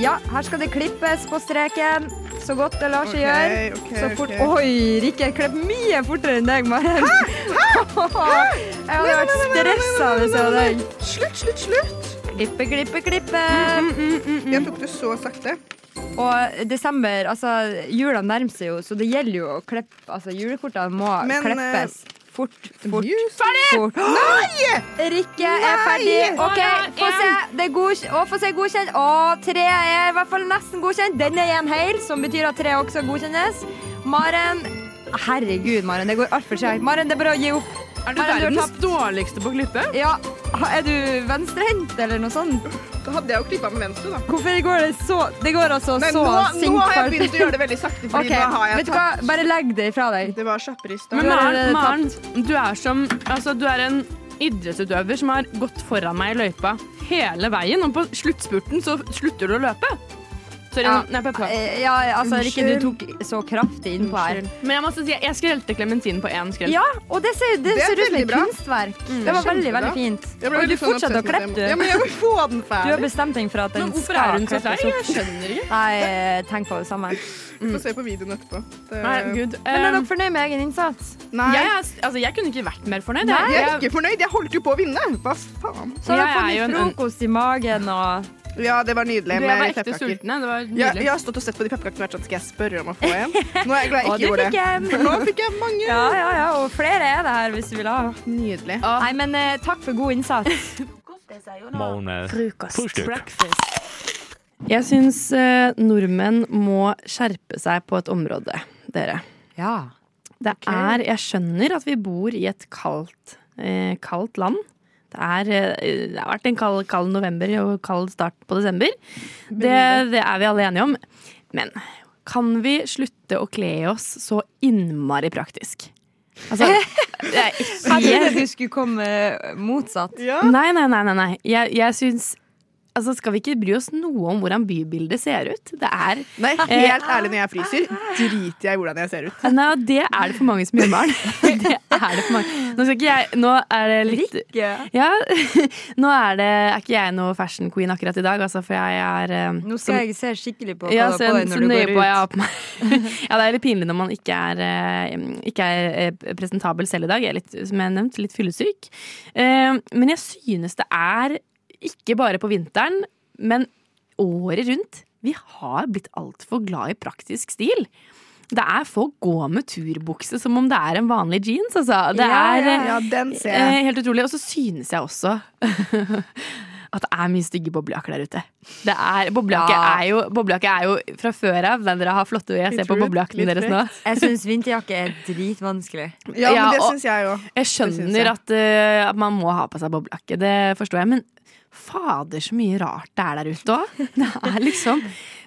Speaker 3: Ja, her skal det klippes på streken. Så godt det lar seg
Speaker 13: Ok,
Speaker 3: gjøre.
Speaker 13: ok,
Speaker 3: så fort
Speaker 13: ok.
Speaker 3: Oi, Rikke klipp mye fortere enn deg, Maren. Jeg hadde vært stressa hvis jeg hadde deg.
Speaker 13: Slutt, slutt, slutt! Mm,
Speaker 3: Klippe, klippe, klippe.
Speaker 13: Jeg tok det så sakte.
Speaker 3: Og desember, altså jula nærmer seg jo, så det gjelder jo å klippe. Altså, julekortene må
Speaker 13: Men, eh,
Speaker 3: klippes. Fort, fort,
Speaker 13: Ferdig!
Speaker 3: fort.
Speaker 13: Nei!
Speaker 3: Rikke er ferdig. OK, få se. Det er godkjent. Å, få se godkjent. Å, tre er i hvert fall nesten godkjent. Den er igjen hel, som betyr at tre også godkjennes. Maren Herregud, Maren. Det går altfor seigt. Maren, det er bare å gi opp.
Speaker 12: Er du
Speaker 3: Maren, har
Speaker 12: verdens
Speaker 3: tapt.
Speaker 12: dårligste på å klippe?
Speaker 3: Ja. Er du venstrehendt eller noe sånt?
Speaker 13: Da hadde jeg jo klippa med venstre, da.
Speaker 3: Hvorfor går det så Det går altså
Speaker 13: Nei,
Speaker 3: så
Speaker 13: nå, nå har jeg
Speaker 3: sinkfart.
Speaker 13: begynt å gjøre det veldig sakte, fordi
Speaker 3: Ok,
Speaker 13: nå har jeg
Speaker 3: vet du hva? Bare legg det ifra deg.
Speaker 13: Det var kjappere i stad.
Speaker 11: Men Maren, Maren du, er som, altså, du er en idrettsutøver som har gått foran meg i løypa hele veien, og på sluttspurten så slutter du å løpe. Sorry,
Speaker 3: Ja.
Speaker 11: nå- nei, Peppa.
Speaker 3: Eh, ja, altså, Rikke, du tok så kraftig innpå her.
Speaker 11: Men jeg må også si, jeg skrelte klementinen på én skrell.
Speaker 3: Ja, og det ser, det
Speaker 11: Det er
Speaker 3: ser ut som
Speaker 11: veldig
Speaker 3: et
Speaker 11: bra.
Speaker 3: kunstverk.
Speaker 11: Mm.
Speaker 3: Det var veldig,
Speaker 11: Kjempebra.
Speaker 3: veldig fint.
Speaker 11: Jeg ble
Speaker 3: Og du
Speaker 11: litt sånn
Speaker 3: fortsatte å
Speaker 11: obsess
Speaker 3: klippe,
Speaker 11: med
Speaker 3: du.
Speaker 11: det. Ja, men jeg
Speaker 13: vil få den
Speaker 3: Du har bestemt deg for at den
Speaker 11: Men hvorfor er
Speaker 3: skal
Speaker 11: hun så
Speaker 3: klippes
Speaker 11: seig?
Speaker 3: opp.
Speaker 11: Jeg skjønner ikke.
Speaker 3: Nei, eh, tenk på det samme.
Speaker 13: Vi
Speaker 11: Mm.
Speaker 13: får se på videoen etterpå. Det-
Speaker 3: Men er dere fornøyd med egen innsats?
Speaker 11: eh, ehm,
Speaker 13: Nei.
Speaker 11: Jeg, er- altså, jeg kunne ikke vært mer fornøyd.
Speaker 13: Nei, jeg
Speaker 11: Jeg-
Speaker 13: er ikke fornøyd. Jeg holdt jo på å vinne. Hva faen?
Speaker 3: Så har dere fått litt frokost i magen og
Speaker 13: Ja, det var nydelig.
Speaker 3: Dere
Speaker 13: med
Speaker 3: var ekte
Speaker 13: pepperkaker.
Speaker 3: sultne, det var nydelig.
Speaker 13: Ja, jeg har stått og sett på de pepperkakene og vært sånn Skal jeg spørre om å få en? Nå er jeg glad jeg
Speaker 3: Og
Speaker 13: ikke
Speaker 3: du
Speaker 13: gjorde
Speaker 3: fikk en.
Speaker 13: det. For nå fikk jeg mange.
Speaker 3: Ja, ja, ja. Og flere er det her, hvis du vil ha.
Speaker 13: Nydelig.
Speaker 3: Nei, men eh, takk for god innsats.
Speaker 11: Jeg syns eh, nordmenn må skjerpe seg på et område, dere.
Speaker 3: Ja.
Speaker 11: Det er Jeg skjønner at vi bor i et kaldt, eh, kaldt land. Det, er, eh, det har vært en kald, kald november og kald start på desember. Det, det er vi alle enige om. Men kan vi slutte å kle oss så innmari praktisk? Altså,
Speaker 13: Eh,
Speaker 11: det er ikke
Speaker 3: Jeg trodde du skulle komme eh, motsatt.
Speaker 11: Nei, nei, nei. nei, nei. Jeg, jeg syns Altså, skal vi ikke bry oss noe om hvordan bybildet ser ut? Det er eh,
Speaker 13: Nei, helt ærlig, når jeg fryser, driter jeg i hvordan jeg ser ut.
Speaker 11: Nei, og det er det for mange som gjør, Maren. Det er det for mange. Nå skal ikke jeg Nå er det litt Ja, nå er det Er ikke jeg noe fashion queen akkurat i dag, altså, for jeg er eh,
Speaker 3: Nå
Speaker 11: som-
Speaker 3: skal jeg se skikkelig på, på,
Speaker 11: ja,
Speaker 3: på
Speaker 11: se,
Speaker 3: deg
Speaker 11: se
Speaker 3: når du
Speaker 11: nøye
Speaker 3: går
Speaker 11: på hva jeg har
Speaker 3: ut.
Speaker 11: på meg. ja, det er litt pinlig når man ikke er, eh, ikke er eh, presentabel selv i dag. Jeg er litt, som jeg har nevnt, litt fyllesyk. Eh, men jeg synes det er, ikke bare på vinteren, men året rundt, vi har blitt altfor glad i praktisk stil. Det er folk gå med turbukse som om det er en vanlig jeans, altså. Det
Speaker 13: Ja,
Speaker 11: er
Speaker 13: ja,
Speaker 11: eh,
Speaker 13: ja, den ser jeg.
Speaker 11: eh, helt utrolig. Og så synes jeg også at det er mye stygge boblejakker der ute. Det er, boblejakke,
Speaker 3: Ja.
Speaker 11: er jo, boblejakke er jo fra før av. Den dere har flotte Jeg ser på boblejakkene deres nå.
Speaker 3: Jeg syns vinterjakke er dritvanskelig.
Speaker 11: Ja, men det Ja, og- synes
Speaker 13: jeg òg.
Speaker 11: Jeg skjønner at, eh, at man må ha på seg boblejakke, det forstår jeg. Men fader, så mye rart det er der ute òg. Det er liksom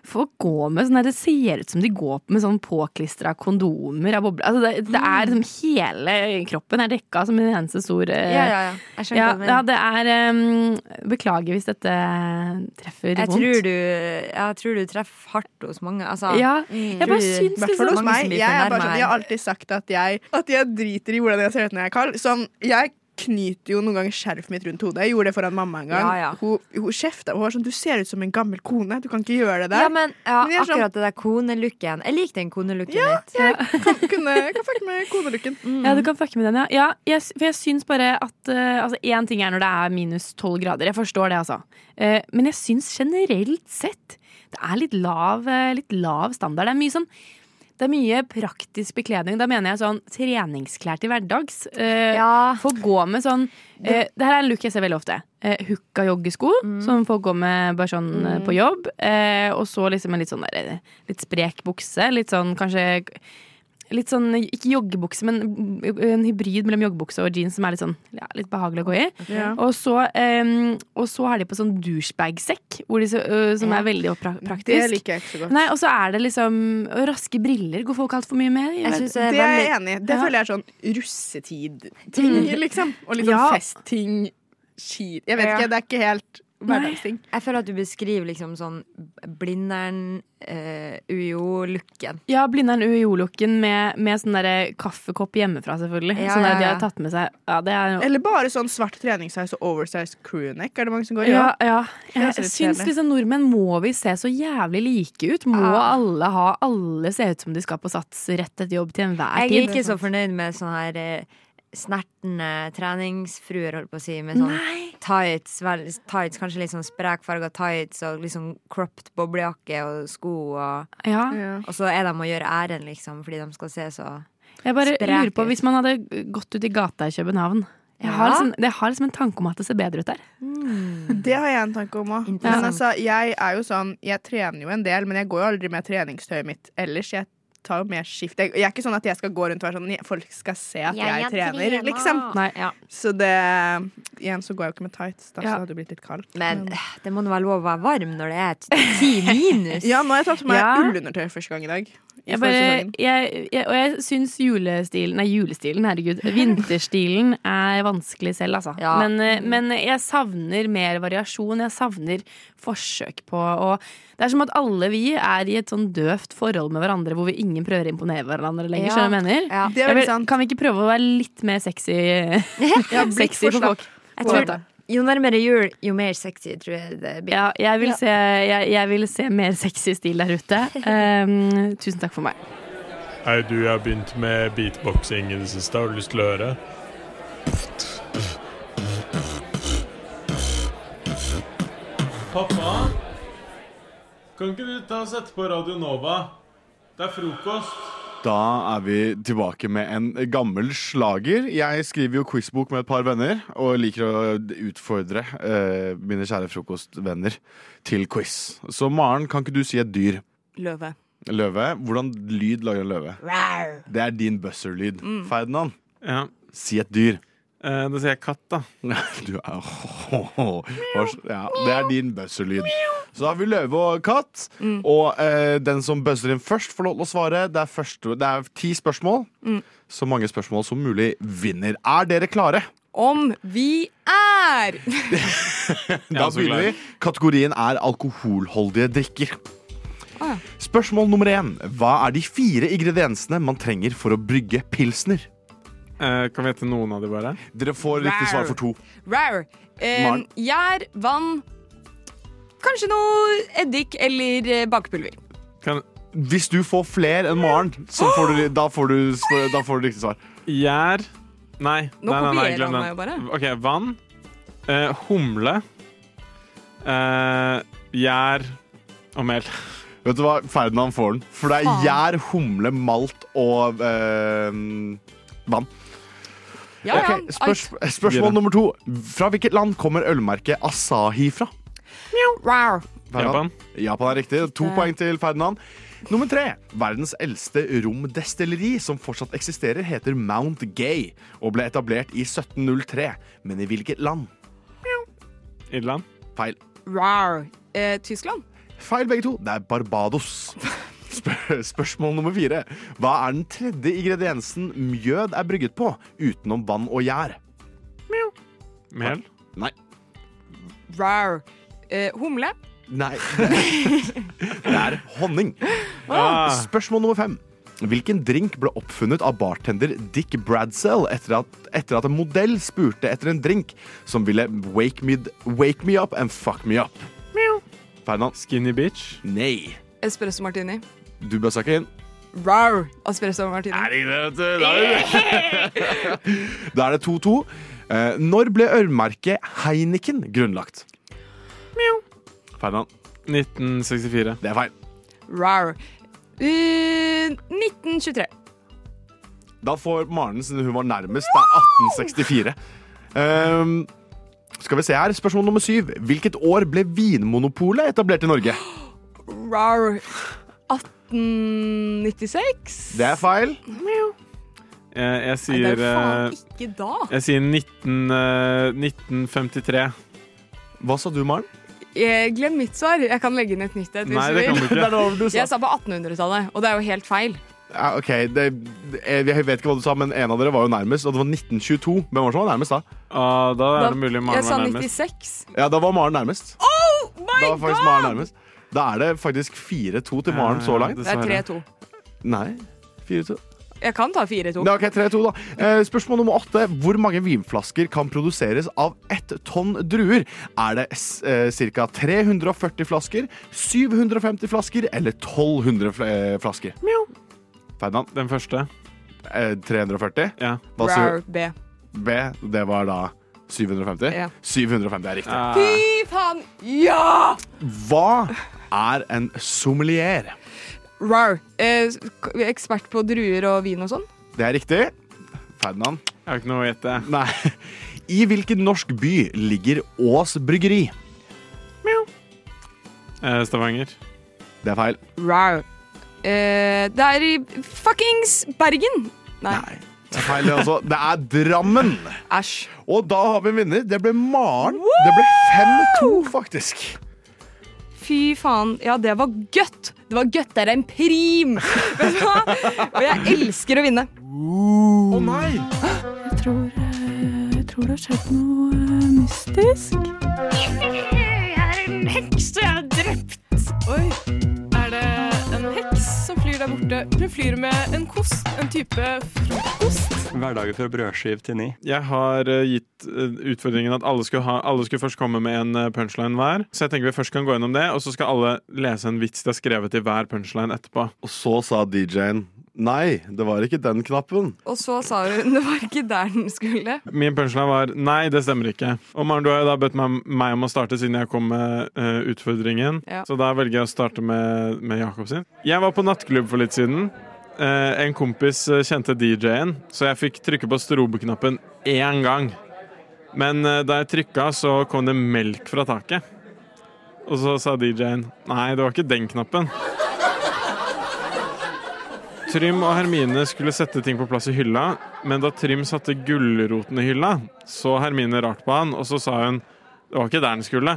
Speaker 11: Folk går med sånn der, Det ser ut som de går med sånn påklistra kondomer av boble... Altså det, det er liksom hele kroppen er dekka som en eneste stor eh,
Speaker 3: Ja, ja, ja. Jeg skjønner
Speaker 11: ja,
Speaker 3: hva du mener.
Speaker 11: ja, det er eh, Beklager hvis dette treffer
Speaker 3: Jeg
Speaker 11: vondt.
Speaker 3: tror, du, jeg tror du treffer hardt hos mange. Altså,
Speaker 11: Ja, jeg
Speaker 3: Mm.
Speaker 11: bare
Speaker 3: Tror du-
Speaker 11: syns
Speaker 3: Hvertfall
Speaker 11: liksom-
Speaker 3: hos
Speaker 13: Nei,
Speaker 3: meg,
Speaker 13: jeg, er bare sånn, jeg har alltid sagt at jeg, at jeg driter i hvordan jeg ser ut når jeg er kald. Sånn, jeg knyter jo noen ganger skjerfet mitt rundt hodet. Jeg gjorde det foran mamma en gang.
Speaker 3: Ja, ja.
Speaker 13: Hun, hun kjefta. Hun var sånn 'Du ser ut som en gammel kone. Du kan ikke gjøre det der'.
Speaker 3: Ja, men ja,
Speaker 13: Men jeg er sånn-
Speaker 3: akkurat det der konelooken. Jeg liker den konelooken
Speaker 13: Ja,
Speaker 3: litt.
Speaker 13: jeg kan, kunne, jeg kan fucke med konelooken.
Speaker 11: Ja, du kan fucke med den, ja. ja jeg, for jeg syns bare at eh, altså, Én ting er når det er minus tolv grader, jeg forstår det, altså. Eh, men jeg syns generelt sett det er litt lav, eh, litt lav standard. Det er mye sånn det er mye praktisk bekledning. Da mener jeg sånn treningsklær til hverdags. Eh, Folk går med sånn eh, Det her er en look jeg ser veldig ofte. Eh, hooka joggesko, som folk går med bare sånn eh, på jobb. Eh, og så liksom en litt sånn der, eh, litt sprek bukse. Litt sånn kanskje litt sånn, ikke joggebukse, men en hybrid mellom joggebukse og jeans som er litt sånn, ja, litt behagelig å gå i.
Speaker 7: Ja.
Speaker 11: Og, så, eh, og så har de på sånn douchebag-sekk, hvor de så- ø, som er veldig pra- praktisk.
Speaker 13: Det liker jeg ikke så godt.
Speaker 11: Nei, og så er det liksom og raske briller går folk altfor mye med.
Speaker 13: Jeg synes det er jeg enig i. Det føler jeg er sånn russetid-ting,
Speaker 11: Mm.
Speaker 13: liksom. Og litt sånn
Speaker 11: Ja.
Speaker 13: festting. Skit. Jeg vet ikke, det er ikke helt hverdagsting.
Speaker 3: Jeg føler at du beskriver liksom sånn Blindern, eh, UiO-looken.
Speaker 11: Ja, Blindern UiO-looken med, med sånn derre kaffekopp hjemmefra, selvfølgelig.
Speaker 13: Ja,
Speaker 11: sånn der
Speaker 13: ja,
Speaker 11: de
Speaker 13: ja.
Speaker 11: har tatt med seg. Ja, det er jo
Speaker 13: Eller bare sånn svart treningssize og oversized crewneck. Er det mange som går i
Speaker 11: Ja,
Speaker 13: også?
Speaker 11: ja.
Speaker 13: Det er
Speaker 11: Jeg
Speaker 13: også litt
Speaker 11: syns
Speaker 13: kjedelig.
Speaker 11: liksom nordmenn må vi se så jævlig like ut. Må
Speaker 3: Ja.
Speaker 11: alle ha Alle se ut som de skal på sats rett etter jobb til enhver
Speaker 3: Jeg
Speaker 11: tid.
Speaker 3: er ikke så fornøyd med sånne her eh, snertne treningsfruer, holdt på å si, med sånn tights, vel, tights, kanskje litt sånn sprekfarga tights og liksom cropped boblejakke og sko og
Speaker 11: Ja.
Speaker 3: Og så er de å gjøre ærend, liksom, fordi de skal se så
Speaker 11: Jeg bare
Speaker 3: spreke
Speaker 11: lurer på, hvis man hadde gått ut i gata i København jeg har,
Speaker 13: Ja.
Speaker 11: liksom, jeg har liksom en tanke om at det ser bedre ut der. Mm.
Speaker 13: Det har jeg en tanke om òg. Men
Speaker 11: Interessant.
Speaker 13: altså, jeg er jo sånn Jeg trener jo en del, men jeg går jo aldri med treningstøyet mitt ellers. Jeg tar jo mer skift. Jeg, jeg er ikke sånn at jeg skal gå rundt og være sånn Folk skal se at jeg,
Speaker 11: Jeg
Speaker 13: trener,
Speaker 11: trener.
Speaker 13: liksom.
Speaker 11: Nei, ja.
Speaker 13: Så det Igjen så går jeg jo ikke med tights, da, så det hadde jo blitt litt kaldt.
Speaker 3: Men eh, det må nå være lov å være varm når det er ti minus.
Speaker 13: Ja, nå har jeg tatt på meg
Speaker 11: Ja.
Speaker 13: ullundertøy første gang i dag. I
Speaker 11: Jeg
Speaker 13: forrige
Speaker 11: bare,
Speaker 13: sesongen.
Speaker 11: jeg, jeg, og jeg syns julestilen Nei, julestilen, herregud. Vinterstilen er vanskelig selv, altså.
Speaker 7: Ja.
Speaker 11: Men, eh, men jeg savner mer variasjon. Jeg savner forsøk på å Det er som at alle vi er i et sånn døvt forhold med hverandre hvor vi ingen prøver å imponere hverandre lenger.
Speaker 13: Ja.
Speaker 11: Skjønner du hva jeg mener?
Speaker 13: Ja. Det er
Speaker 11: Jeg
Speaker 13: veldig
Speaker 11: vil- Kan vi ikke prøve å være litt mer sexy, sexy for folk?
Speaker 3: Jeg tror, jo nærmere jul, jo mer sexy tror jeg det blir.
Speaker 11: Ja, jeg vil, Se, jeg, jeg vil se mer sexy stil der ute. Um, tusen takk for meg.
Speaker 15: Hei, du, jeg har begynt med beatboxing i det siste. Har du lyst til å høre?
Speaker 10: Pappa, kan ikke du ta og sette på Radio Nova? Det er frokost.
Speaker 8: Da er vi tilbake med en gammel slager. Jeg skriver jo quizbok med et par venner, og liker å utfordre eh, mine kjære frokostvenner til quiz. Så Maren, kan ikke du si et dyr?
Speaker 13: Løve.
Speaker 8: Løve. Hvordan lyd lager en løve?
Speaker 13: Rar.
Speaker 8: Det er din buzzer-lyd.
Speaker 13: Mm.
Speaker 8: Ferdinand,
Speaker 10: Ja.
Speaker 8: si et dyr.
Speaker 10: Eh, da sier jeg katt, da.
Speaker 8: Du er Hva s- ja, Det er din buzzer-lyd. Så da har vi løve og katt. Og eh, den som buzzer inn først, får lov til å svare. Det er, første, det er ti spørsmål. Så mange spørsmål som mulig vinner. Er dere klare?
Speaker 13: Om vi er!
Speaker 8: Da
Speaker 10: så
Speaker 8: begynner vi.
Speaker 10: klar.
Speaker 8: Kategorien er alkoholholdige drikker. Spørsmål nummer én. Hva er de fire ingrediensene man trenger for å brygge pilsner?
Speaker 10: eh, kan vi hete noen av de bare?
Speaker 8: Dere får riktig svar for to.
Speaker 7: Rar. Eh,
Speaker 8: Maren.
Speaker 7: Gjær, vann Kanskje noe eddik eller eh, bakepulver.
Speaker 8: Hvis du får flere enn Maren, så får du, da, får du, da får du riktig svar.
Speaker 10: Gjær Nei,
Speaker 7: Nå
Speaker 10: nei, nei, nei,
Speaker 7: kopierer
Speaker 10: glem
Speaker 7: han
Speaker 10: den.
Speaker 7: meg
Speaker 10: OK, vann. eh, humle. eh, gjær og mel.
Speaker 8: Vet du hva? Ferdinand får den. For det er
Speaker 10: Faen.
Speaker 8: gjær, humle, malt og eh, vann.
Speaker 13: Ja, ja,
Speaker 8: Ok, spørs, spørsmål nummer to. Fra hvilket land kommer ølmerket Asahi fra?
Speaker 13: Rar.
Speaker 8: Ferdinand? Japan er riktig. To
Speaker 13: Fy
Speaker 8: poeng til Ferdinand. Nummer tre. Verdens eldste romdestilleri som fortsatt eksisterer, heter Mount Gay og ble etablert i 1703. Men i hvilket land?
Speaker 10: Irland.
Speaker 8: Feil.
Speaker 7: Rar. Eh, Tyskland.
Speaker 8: Feil begge to. Det er Barbados. Spør spørsmål nummer fire. Hva er den tredje ingrediensen mjød er brygget på, utenom vann og gjær?
Speaker 10: Mel?
Speaker 8: Nei.
Speaker 7: Rar. Eh, humle.
Speaker 8: Nei. Det er honning.
Speaker 7: Ah.
Speaker 8: Spørsmål nummer fem. Hvilken drink ble oppfunnet av bartender Dick Bradsell etter at, etter at en modell spurte etter en drink som ville wake me, wake me up and fuck me up? Ferdinand?
Speaker 10: Skinny Beach?
Speaker 8: Nei.
Speaker 7: Espresso martini.
Speaker 8: Du bøssa ikke inn.
Speaker 7: Rar. Espresso martini.
Speaker 8: Da er det 2-2. Eh, når ble ølmerket Heineken grunnlagt? Ferdinand?
Speaker 10: 1964.
Speaker 8: Det er feil.
Speaker 7: Rar. Eh, 1923.
Speaker 8: Da får Maren, siden hun var nærmest, det er 1864. Ehm, skal vi se her, Spørsmål nummer syv. Hvilket år ble Vinmonopolet etablert i Norge?
Speaker 7: Rar.
Speaker 16: 1996.
Speaker 8: Det er feil.
Speaker 10: Eh,
Speaker 15: Jeg, jeg
Speaker 16: Nei,
Speaker 15: sier
Speaker 16: det er faen
Speaker 15: eh,
Speaker 16: ikke da.
Speaker 15: Jeg sier 19, eh, 1953.
Speaker 8: Hva sa du, Maren?
Speaker 16: Jeg- Eh, Glem mitt svar. Jeg kan legge inn et nytt et. hvis
Speaker 15: Nei, det kan du
Speaker 16: vil.
Speaker 15: ikke. Det er
Speaker 8: det du sa.
Speaker 16: Jeg sa på 1800-tallet, og det er jo helt feil.
Speaker 8: Ja, OK, det, jeg jeg vet ikke hva du sa, men en av dere var jo nærmest, og det var 1922. Hvem var det som var nærmest da?
Speaker 15: da
Speaker 16: er Ah, Da- det mulig Maren jeg var sa nærmest. 96.
Speaker 8: Ja, da var Maren nærmest.
Speaker 16: Oh
Speaker 8: Da var faktisk Maren nærmest. Da er det faktisk 4-2 til Maren så langt.
Speaker 16: Det er 3-2.
Speaker 8: Nei. 4-2.
Speaker 16: Jeg kan ta 4-2.
Speaker 8: Nei, ok, 3-2 da. Eh, Spørsmål nummer åtte. Hvor mange vinflasker kan produseres av ett tonn druer? Er det eh, ca. 340 flasker, 750 flasker eller 1200 fl- eh, flasker? Eh, Ferdinand?
Speaker 15: Den første.
Speaker 8: 340?
Speaker 15: Ja.
Speaker 8: Hva sier du?
Speaker 16: B.
Speaker 8: B, det var da 750?
Speaker 16: Ja.
Speaker 8: 750 er riktig.
Speaker 16: Fy
Speaker 15: Ah.
Speaker 16: faen! Ja!
Speaker 8: Hva er en sommelier?
Speaker 16: Rar. Eh, k- ekspert på druer og vin og sånn.
Speaker 8: Det er riktig. Ferdinand?
Speaker 15: Jeg har ikke noe å gjette.
Speaker 8: Nei. I hvilken norsk by ligger Ås bryggeri?
Speaker 15: Eh, Stavanger.
Speaker 8: Det er feil.
Speaker 16: Rar. Eh, det er i fuckings Bergen. Nei.
Speaker 8: Det er feil, det også. Det er Drammen.
Speaker 16: Æsj.
Speaker 8: Og da har vi en vinner. Det ble Maren. Det ble 5-2, faktisk.
Speaker 16: Fy faen. Ja, det var gøtt. Det var gøttere enn prim. Vet du hva? Og jeg elsker å vinne.
Speaker 8: Å nei!
Speaker 4: Jeg tror, eh, jeg tror det har skjedd noe eh, mystisk.
Speaker 12: Jeg er en heks, og jeg er drept. Oi. Er det en heks som flyr der borte? Hun flyr med en kost, en type frokost.
Speaker 5: Hverdager fra brødskiv til ni.
Speaker 15: Jeg har eh, gitt eh, utfordringen at alle skulle, ha, alle skulle først komme med en eh, punchline hver. Så jeg tenker vi først kan gå gjennom det, og så skal alle lese en vits de har skrevet i hver punchline etterpå.
Speaker 8: Og så sa DJ-en nei, det var ikke den knappen.
Speaker 16: Og så sa hun det var ikke der den skulle.
Speaker 15: Min punchline var nei, det stemmer ikke. Og Maren, du har jo da bedt meg, meg om å starte siden jeg kom med eh, utfordringen.
Speaker 16: Ja.
Speaker 15: Så da velger jeg å starte med, med Jakob sin. Jeg var på nattklubb for litt siden. Eh, en kompis eh, kjente DJ-en, så jeg fikk trykke på strobeknappen én gang. Men eh, da jeg trykka, så kom det melk fra taket. Og så sa DJ-en nei, det var ikke den knappen. Trym og Hermine skulle sette ting på plass i hylla, men da Trym satte gulroten i hylla, så Hermine rart på han, og så sa hun det var ikke der den skulle.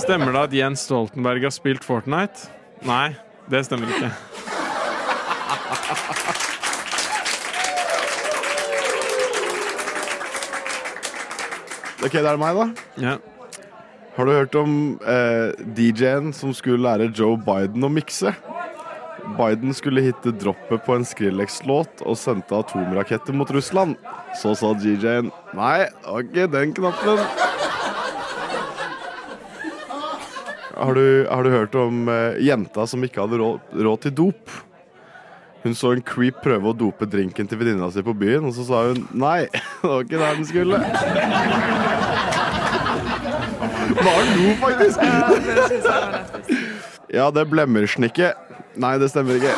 Speaker 15: Stemmer det at Jens Stoltenberg har spilt Fortnite? Nei, det stemmer ikke.
Speaker 8: Ok, det er meg, da.
Speaker 15: Ja.
Speaker 8: Har du hørt om eh, DJ-en som skulle lære Joe Biden å mikse? Biden skulle hitte droppet på en Skrillex-låt og sendte atomraketter mot Russland. Så sa DJ-en nei, det var ikke den knappen. Har du, har du hørt om eh, jenta som ikke hadde råd, råd til dop? Hun så en creep prøve å dope drinken til venninna si på byen, og så sa hun nei, det var ikke der den skulle. Maren lo faktisk. Ja, det blemmersnikke. Nei, det stemmer ikke.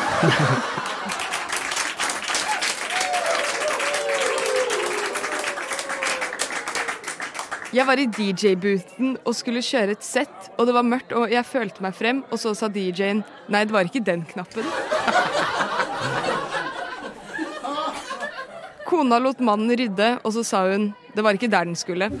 Speaker 16: Jeg var i DJ-boothen og skulle kjøre et sett, og det var mørkt, og jeg følte meg frem, og så sa DJ-en nei, det var ikke den knappen. Kona lot mannen rydde, og så sa hun det var ikke der den skulle.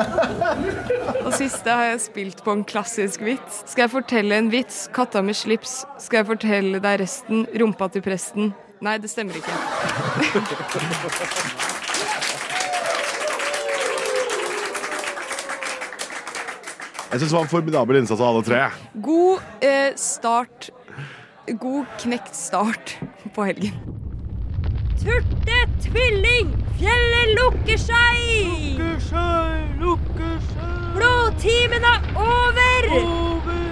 Speaker 16: Og siste har jeg spilt på en klassisk vits. Skal jeg fortelle en vits? Katta med slips. Skal jeg fortelle deg resten? Rumpa til presten. Nei, det stemmer ikke.
Speaker 8: Jeg syns det var en formidabel innsats av alle tre.
Speaker 16: God eh, start God knekt start på helgen.
Speaker 17: Turte tvilling, fjellet lukker seg. Lukker seg, lukker seg. Blodtimen er over. Over.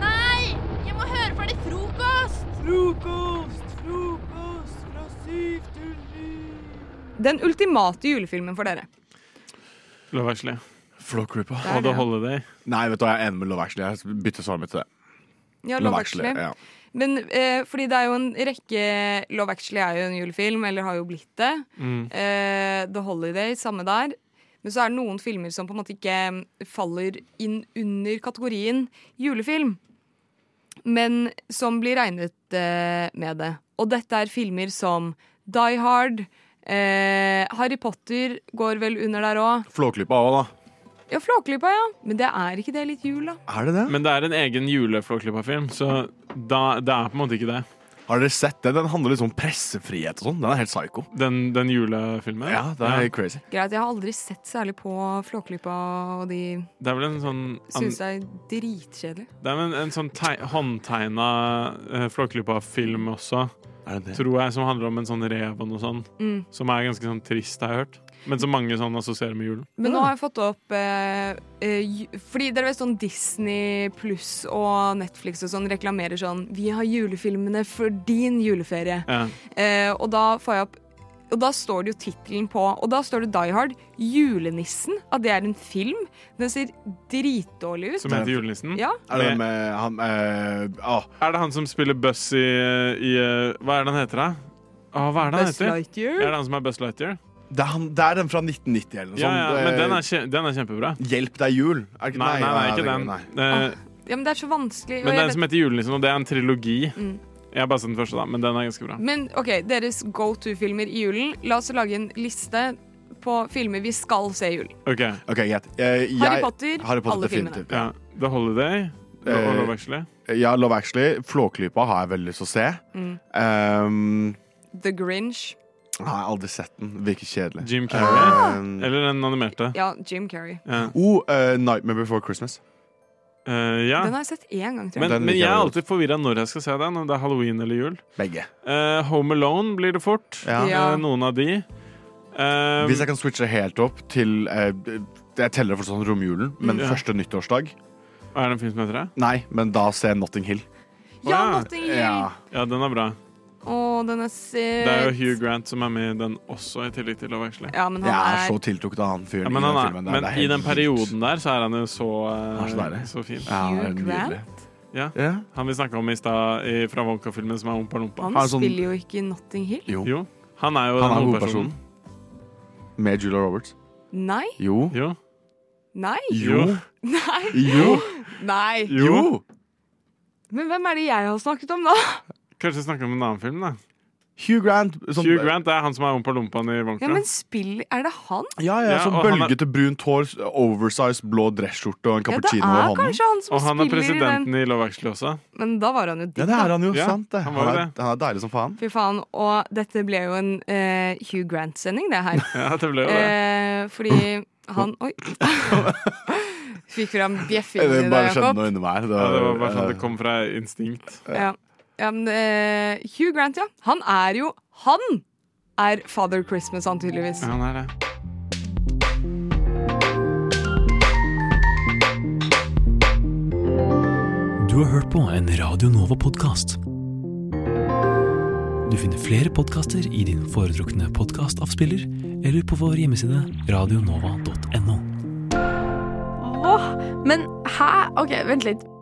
Speaker 1: Nei, jeg må høre ferdig frokost! Frokost, frokost fra syv til
Speaker 16: Den ultimate julefilmen for dere.
Speaker 15: Love Actually.
Speaker 8: Flock Ripper.
Speaker 15: Og The Holiday.
Speaker 8: Nei, vet du, hva, jeg er enig med Love Actually. Jeg bytter svaret mitt til det.
Speaker 16: Ja, Love Actually.
Speaker 8: Ja.
Speaker 16: Men eh, fordi det er jo en rekke Love Actually er jo en julefilm, eller har jo blitt det.
Speaker 17: Mm.
Speaker 16: Eh, The Holiday, samme der. Men så er det noen filmer som på en måte ikke faller inn under kategorien julefilm. Men som blir regnet eh, med det. Og dette er filmer som Die Hard, eh, Harry Potter går vel under der òg.
Speaker 8: Flåklypa òg, da.
Speaker 16: Ja, Flåklypa, ja. Men det er ikke det litt jul, da?
Speaker 8: Er det det?
Speaker 15: Men det er en egen juleflåklypa-film, så da, det er på en måte ikke det.
Speaker 8: Har dere sett det? Den handler liksom om pressefrihet og sånn. Den er helt psycho.
Speaker 15: Den, den julefilmen?
Speaker 8: Ja, det er helt crazy.
Speaker 16: Greit, jeg har aldri sett særlig på Flåklypa, og de
Speaker 15: Det er vel en sånn an,
Speaker 16: syns det er dritkjedelig.
Speaker 15: Det er vel en, en sånn teg, håndtegna eh, Flåklypa-film også, tror jeg, som handler om en sånn rev og noe sånn.
Speaker 16: Mm.
Speaker 15: Som er ganske sånn trist, har jeg hørt. Men som mange sånn assosierer med julen.
Speaker 16: Men nå har jeg fått opp eh, eh, ju- Fordi dere vet sånn Disney pluss og Netflix og sånn reklamerer sånn Vi har julefilmene for din juleferie.
Speaker 15: Ja.
Speaker 16: Eh, og da får jeg opp Og da står det jo tittelen på Og da står det Die Hard. 'Julenissen'. At det er en film. Den ser dritdårlig ut.
Speaker 15: Som heter Julenissen?
Speaker 16: Ja.
Speaker 8: Er det med han eh, ah.
Speaker 15: Er det han som spiller Buzz i, i eh, Hva er det han heter, da? Ah, hva er det han
Speaker 8: Buzz
Speaker 15: heter?
Speaker 8: Lightyear?
Speaker 15: Er det han som er Buzz Lightyear?
Speaker 8: Det er, han, det er den fra 1990 eller noe
Speaker 15: Ja, ja,
Speaker 8: sånt.
Speaker 15: men den
Speaker 8: Eh,
Speaker 15: er, kje- den er kjempebra.
Speaker 8: Hjelp, det er jul. Er det ikke,
Speaker 15: Nei, nei, nei, ikke den.
Speaker 8: nei.
Speaker 15: Eh,
Speaker 16: Ja, men det er så vanskelig. og
Speaker 15: Men
Speaker 16: Ah, jeg
Speaker 15: den
Speaker 16: vet-
Speaker 15: som heter Julenissen, og det er en trilogi.
Speaker 16: Mm.
Speaker 15: Jeg har bare sett den første, da, men den er ganske bra.
Speaker 16: Men ok, deres go to-filmer i julen. La oss lage en liste på filmer vi skal se i jul.
Speaker 15: Ok,
Speaker 8: greit. Eh, jeg-
Speaker 16: Harry Potter,
Speaker 8: Harry Potter
Speaker 16: alle filmene.
Speaker 8: definitivt,
Speaker 15: Ja. The Holiday
Speaker 8: Eh,
Speaker 15: og Love Actually.
Speaker 8: Ja, Love Actually. Flåklypa har jeg veldig lyst til å se.
Speaker 16: Mm.
Speaker 8: Um,
Speaker 16: The Grinch.
Speaker 8: jeg har aldri sett den. Virker kjedelig.
Speaker 15: Jim Carrey.
Speaker 8: Um,
Speaker 15: Eller den animerte.
Speaker 16: Ja, Jim Carrey.
Speaker 8: Oh, eh, Nightmare Before Christmas.
Speaker 15: Eh, ja.
Speaker 16: Den har jeg sett én gang, tror jeg.
Speaker 15: Men, men jeg er alltid forvirra når jeg skal se den, om det er halloween eller jul.
Speaker 8: Begge.
Speaker 15: Eh, Home Alone blir det fort.
Speaker 8: Ja.
Speaker 15: Eh, noen av de. Eh,
Speaker 8: Hvis jeg kan switche helt opp til eh, Jeg teller for sånn romjulen, men
Speaker 15: Mm, Ja.
Speaker 8: første nyttårsdag.
Speaker 15: Er det en film som heter det?
Speaker 8: Nei, men da ser jeg Notting Hill.
Speaker 16: Ja, Notting Hill!
Speaker 8: Ja.
Speaker 15: ja, den er bra.
Speaker 16: Å, den er søt.
Speaker 15: Det er jo Hugh Grant som er med i den også, i tillegg til Love Actually.
Speaker 16: Ja, men
Speaker 8: jeg
Speaker 16: han
Speaker 8: er
Speaker 16: er
Speaker 8: så tiltrukket av han fyren.
Speaker 15: Ja, men
Speaker 8: i den
Speaker 15: han er,
Speaker 8: filmen der.
Speaker 15: men
Speaker 8: Det er
Speaker 15: i
Speaker 8: helt
Speaker 15: den perioden der så er han jo så,
Speaker 8: Han er så
Speaker 15: eh,
Speaker 8: deilig.
Speaker 15: så fin.
Speaker 8: Ja, han er Hugh nydelig. Grant?
Speaker 15: Ja. Han vi snakka om i stad i- fra Wonka-filmen, som er Ompa Lompa.
Speaker 16: Han spiller jo ikke i Notting Hill.
Speaker 8: Jo.
Speaker 15: Han er jo
Speaker 8: sånn- Han
Speaker 15: den
Speaker 8: er
Speaker 15: hovedpersonen.
Speaker 8: Med Julia Roberts.
Speaker 16: Nei.
Speaker 8: Jo.
Speaker 15: Jo.
Speaker 16: Nei.
Speaker 8: Jo.
Speaker 16: Nei.
Speaker 8: Jo.
Speaker 16: Nei. Men hvem er det jeg har snakket om nå?
Speaker 15: Kanskje vi snakker om en annen film, da.
Speaker 8: Hugh Grant. som-
Speaker 15: Hugh Grant er han som er Ompa Lompaen i Wonka.
Speaker 16: Ja, men spill Er det han?
Speaker 8: Ja, ja, sånn
Speaker 15: og han er-
Speaker 8: bølgete brunt hår, oversized blå dresskjorte og en
Speaker 16: Ja, det
Speaker 8: cappuccino
Speaker 16: er
Speaker 8: i hånden.
Speaker 16: kanskje han som
Speaker 15: Og han er
Speaker 16: spiller i den.
Speaker 15: presidenten i Love Actually også.
Speaker 16: Men da var han jo digg,
Speaker 8: Ja, det er
Speaker 16: da.
Speaker 8: han jo.
Speaker 15: Ja,
Speaker 8: sant det.
Speaker 15: han
Speaker 8: Han,
Speaker 15: var jo
Speaker 8: er, han er deilig som faen.
Speaker 16: Fy faen. Og dette ble jo en eh, Hugh Grant-sending, det her.
Speaker 15: Ja, det ble jo det.
Speaker 16: Eh, fordi han Oi. Fikk fram bjeffingen
Speaker 8: Det
Speaker 16: i
Speaker 8: bare
Speaker 16: deg,
Speaker 8: skjedde
Speaker 16: Jakob.
Speaker 8: noe inni meg.
Speaker 15: Ja, det var bare sånn det kom fra instinkt.
Speaker 16: Ja. Ja, men, eh, Hugh Grant, ja. Han er jo Han er Father Christmas, han tydeligvis.
Speaker 15: Ja, han er det.
Speaker 18: Du har hørt på en Radio Nova-podkast. Du finner flere podkaster i din foretrukne podkastavspiller eller på vår hjemmeside radionova.no.
Speaker 7: Åh, men hæ? Ok, vent litt.